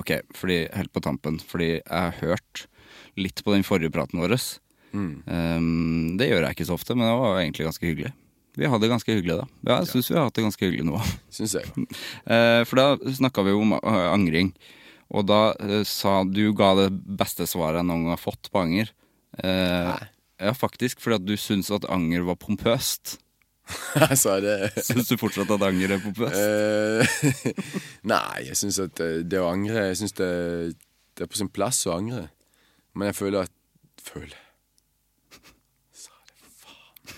Ok, fordi, helt på tampen, fordi jeg har hørt litt på den forrige praten vår. Um, det gjør jeg ikke så ofte, men det var egentlig ganske hyggelig. Vi hadde det ganske hyggelig da. Ja, jeg syns vi har hatt det ganske hyggelig nå.
Syns jeg.
Eh, for da snakka vi om eh, angring, og da eh, sa du ga det beste svaret jeg noen gang har fått på anger. Eh, ja, faktisk, fordi at du syns at anger var pompøst.
altså, det
Syns du fortsatt at anger er populært?
Eh, Nei, jeg syns at eh, det å angre Jeg syns det, det er på sin plass å angre. Men jeg føler at Føler Sa det, faen.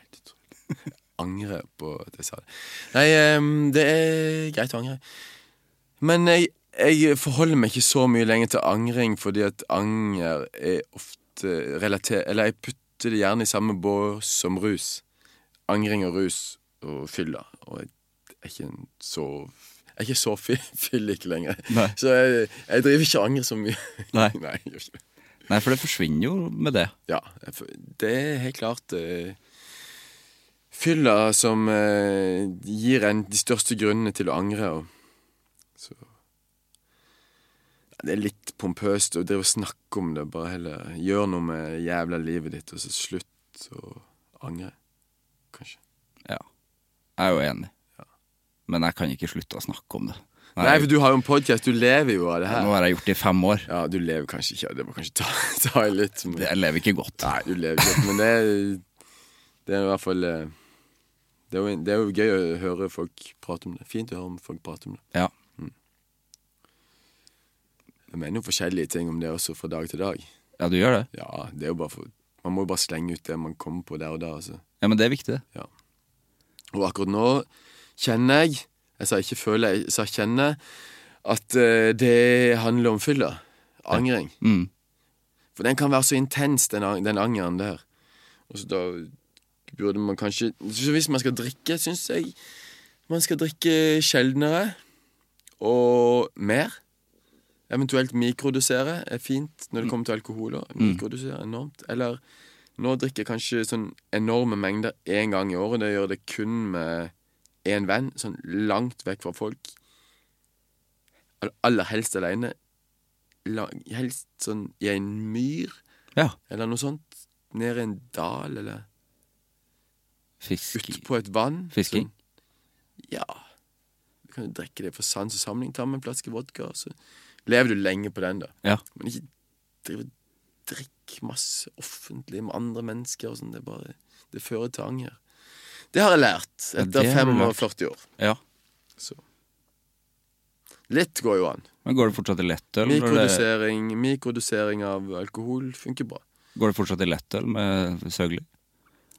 Helt utrolig. Jeg Angrer på at jeg sa det. Nei, eh, det er greit å angre. Men jeg, jeg forholder meg ikke så mye lenger til angring, fordi at anger er ofte relatert Eller jeg putter det gjerne i samme bås som rus angring og rus og fylla. Og jeg er ikke en så Jeg er ikke så fy- fyllik lenger.
Nei.
Så jeg, jeg driver ikke og angrer så mye.
Nei.
jeg gjør ikke det.
Nei, for det forsvinner jo med det.
Ja, jeg f- det er helt klart eh, fylla som eh, gir en de største grunnene til å angre. Og, så Det er litt pompøst å drive og snakke om det. Bare heller gjør noe med jævla livet ditt, og så slutt å angre. Kanskje.
Ja. Jeg er jo enig. Men jeg kan ikke slutte å snakke om det. Nei,
Nei, for du har jo en podcast, du lever jo av det her
Nå har jeg gjort det i fem år.
Ja, du lever kanskje ikke av det, må kanskje ta, ta i litt men...
Jeg lever ikke godt.
Nei, du lever ikke, men det er, det er i hvert fall eh, det er, jo, det er jo gøy å høre folk prate om det Fint å høre om folk prate om det
Ja.
Jeg mener jo forskjellige ting om det også fra dag til dag
ja, du gjør det.
Ja, det er jo bare for Man må jo bare slenge ut det man kommer på der og da altså.
Ja, Men det er viktig, det.
Ja. Og akkurat nå kjenner jeg Jeg sa ikke føler, jeg sa kjenner at eh, det handler om fylla. Angring.
Mm.
For den kan være så intens, den, ang- den angeren der. Og så da burde man kanskje Så hvis man skal drikke, syns jeg man skal drikke sjeldnere og mer. Eventuelt mikrodosere er fint når det kommer til alkohol. også. Mikrodosere er enormt. Eller nå drikker jeg kanskje sånn enorme mengder én gang i året. Det gjør det kun med én venn, sånn langt vekk fra folk. Eller Aller helst aleine. Helst sånn i en myr,
Ja.
eller noe sånt. Ned i en dal, eller
Fisk.
utpå et vann.
Fisking?
Sånn. Ja. Du kan jo drikke det for sans og samling. Ta med en flaske vodka, og så lever du lenge på den, da.
Ja.
Men ikke drive og drikke masse offentlig med andre mennesker og sånn. Det er bare Det fører til anger. Det har jeg lært
Ja,
etter
det har du lært.
45 år.
ja.
Så Litt går jo an.
Men går det fortsatt i lettøl? når det-
Mikrodosering, mikrodosering av alkohol funker bra.
Går det fortsatt i lettøl med søgler?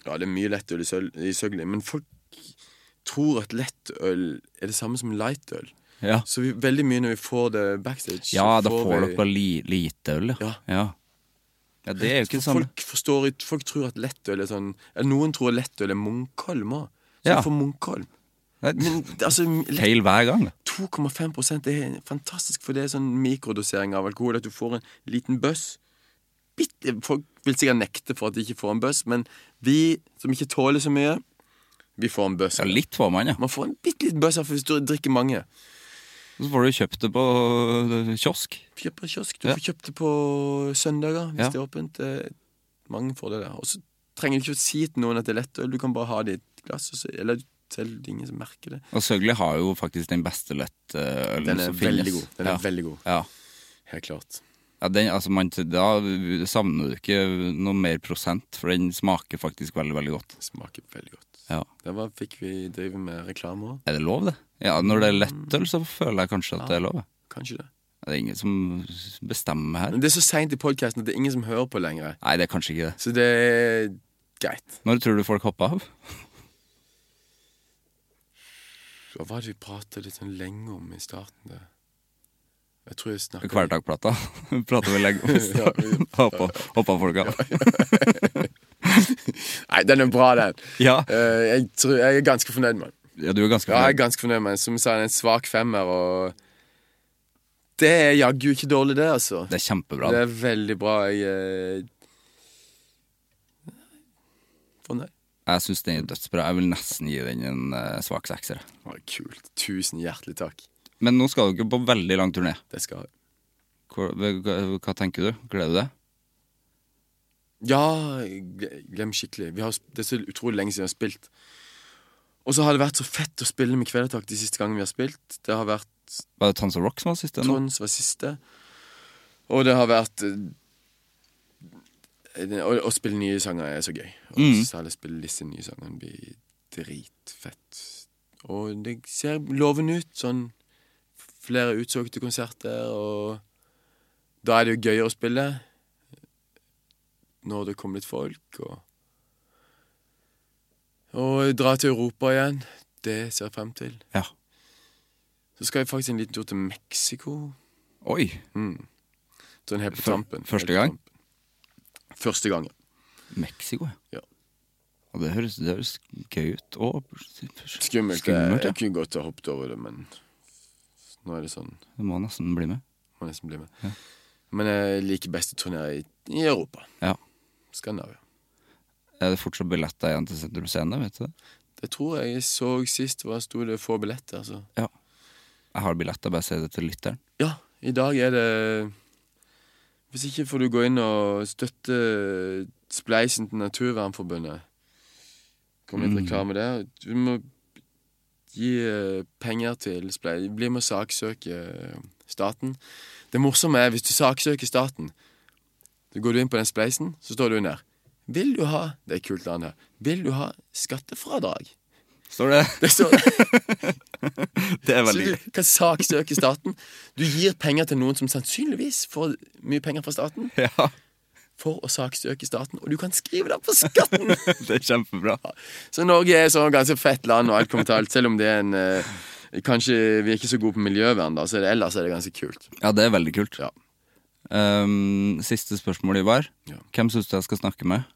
Ja, det er mye lettøl i, søl, i søgli, men folk tror at lettøl er det samme som lightøl.
Ja.
Så vi, veldig mye når vi får det backstage
Ja,
så
da får
vi-
dere bare li, lite øl,
Ja.
ja. Ja, det er jo ikke det samme.
Folk, forstår, ikke- folk tror at lettøl er sånn Eller noen tror lettøl er Munkholm òg. Så
Ja.
for Munkholm.
Nei,
Men altså, lett-
Feil hver gang.
2,5 er fantastisk, for det er sånn mikrodosering av alkohol. At du får en liten bøss. Bitte, folk vil sikkert nekte for at de ikke får en bøss, men vi som ikke tåler så mye, vi får en bøss.
Ja, litt får man, ja.
Man får en bitte liten bøss hvis du drikker mange.
Så får du kjøpt det på øh, kiosk.
Kjøp på kiosk. Du
Ja.
får kjøpt det på søndager hvis
Ja.
det er åpent. Eh, Mange får det der. Og så trenger du ikke å si til noen at det er lettøl. Du kan bare ha det i et glass, og så, eller selv det er ingen som merker det.
Og Søgli har jo faktisk den beste lettølen
Den er
som Mm. finnes.
veldig god. Den er
ja.
veldig god.
Ja.
Helt klart.
Ja, den, altså man, da savner du ikke noe mer prosent, for den smaker faktisk veldig, veldig godt.
Smaker veldig godt.
Ja.
Der var, fikk vi drive med reklame òg.
Er det lov, det? Ja, Når det er lettøl, så føler jeg kanskje at det er lov. ja.
Kanskje det.
Det er ingen som bestemmer her.
Men det er så seint i podkasten at det er ingen som hører på lenger.
Nei, det er kanskje ikke det.
Så det er greit.
Når tror du folk hopper av?
Hva var det vi prata litt sånn lenge om i starten? der? Jeg tror jeg snakket
Hverdagplata. Prater vi lenge om i starten. Hoppa, hoppa folk av.
Nei, den er bra, den.
Ja.
Eh, jeg, tror, jeg er ganske fornøyd med den.
ja, du er ganske
Ja, jeg er
fornøyd.
ganske fornøyd med den. Som jeg sa, den er en svak femmer, og Det er jaggu ikke dårlig, det, altså.
Det er kjempebra.
Det
Det.
er veldig bra. Jeg eh, Fornøyd.
Jeg syns den er dødsbra. Jeg vil nesten gi den en eh, svak sekser. jeg.
Å, kult. Tusen hjertelig takk.
Men nå skal dere på veldig lang turné.
Det skal jeg.
Hvor, hva, hva tenker du? Gleder du deg?
Ja, gle- glem skikkelig. Vi har, sp- det er så utrolig lenge siden vi har spilt. Og så har det vært så fett å spille med Kvelertak de siste gangene vi har spilt. Det har vært
Var det Tons of Rock som var siste? nå?
Trons var siste. Og det har vært eh, Å, å spille nye sanger er så gøy. Og særlig spille disse nye sangene blir dritfett. Og det ser lovende ut. Sånn flere utsolgte konserter, og da er det jo gøyere å spille. Når det kommer litt folk, og Og dra til Europa igjen. Det ser jeg frem til.
Ja.
Så skal jeg faktisk en liten tur til Mexico.
Oi.
Sånn helt på
Før-
tampen.
første
Helt på
gang?
tampen. Første gang, ja.
Mexico,
Ja.
Og det høres, det høres gøy ut. Og
Skummelt. eh,
Skummelt,
jeg,
ja.
jeg kunne godt ha hoppet over det, men nå er det sånn.
Du må nesten bli med.
Må nesten bli med. Men jeg liker best å turnere i, i Europa.
Ja.
Skandinavia.
Er det fortsatt billetter igjen til Sentrum Scene? Vet du det?
Det tror jeg jeg så sist var sto det få billetter. Altså.
Ja. Jeg har billetter, bare si det til lytteren.
Ja, i dag er det Hvis ikke får du gå inn og støtte spleisen til Naturvernforbundet. Kommer litt reklame der. Du må gi eh, penger til spleis. Bli med å saksøke staten. Det morsomme er hvis du saksøker staten, så går du inn på den spleisen, så står det under. Vil du ha Det er et kult land her. Vil du ha skattefradrag?
Står det?
Det står
Det er
Så du kan saksøke staten. Du gir penger til noen som sannsynligvis får mye penger fra staten,
Ja,
for å saksøke staten, og du kan skrive det på skatten!
det er kjempebra.
Så Norge er sånn ganske fett land, og alt kommer til alt, selv om det er en eh, Kanskje vi er ikke så gode på miljøvern, da, så er det, ellers er det ganske kult.
Ja, det er veldig kult.
Ja.
Ehm, siste spørsmål, Ivar.
Ja.
Hvem syns du jeg skal snakke med?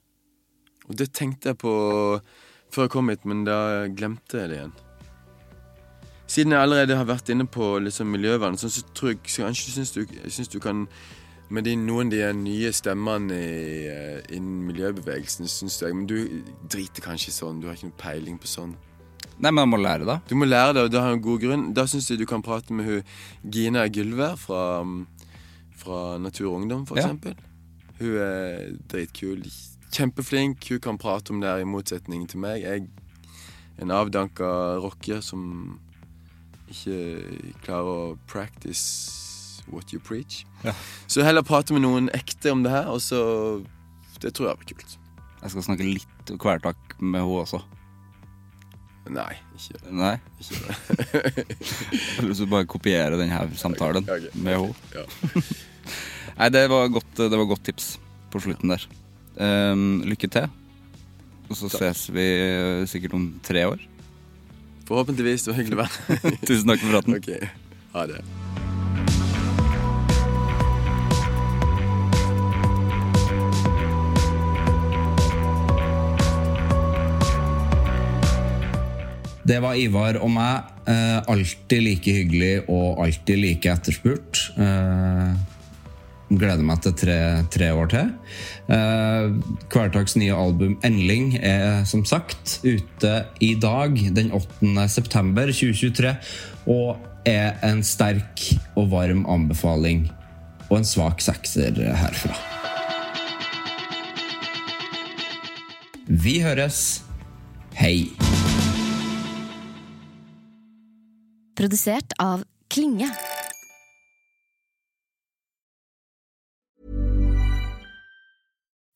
Og det tenkte jeg på før jeg kom hit, men da glemte jeg det igjen. Siden jeg allerede har vært inne på liksom miljøvern, så så tror jeg så kanskje syns du, jeg syns du kan Med de, noen av de nye stemmene i, eh, innen miljøbevegelsen, syns jeg Men du driter kanskje i sånn, du har ikke noe peiling på sånn.
Nei, men jeg må lære, da.
Du må lære det, og det har en god grunn. Da syns jeg du kan prate med hun Gina Gylvær fra, um, fra Natur og Ungdom, for
Ja.
eksempel. Hun er dritkul. Kjempeflink. Hun kan prate om det her, i motsetning til meg. Jeg er en avdanka rocker som ikke klarer å practice what you preach. Så heller prate med noen ekte om det her, og så Det tror jeg blir kult.
Jeg skal snakke litt kvelertak med henne også.
Nei, ikke gjør det.
Nei?
Ikke gjør det.
Jeg har lyst til å bare kopiere denne samtalen
Ok, ok,
med henne.
Ja.
Nei, det var, godt, det var godt tips på slutten der. Ehm, lykke til. Og så ses vi eh, sikkert om tre år.
Forhåpentligvis. Det var hyggelig å være her.
Tusen takk for praten.
OK. Ha det.
Det var Ivar og meg. Eh, alltid like hyggelig og alltid like etterspurt. Eh, gleder meg til tre, tre år til. Eh, Kvelertaks nye album 'Endling' er som sagt ute i dag, den 8. september 2023, og er en sterk og varm anbefaling. Og en svak sekser herfra. Vi høres. Hei.
Produsert av Klinge.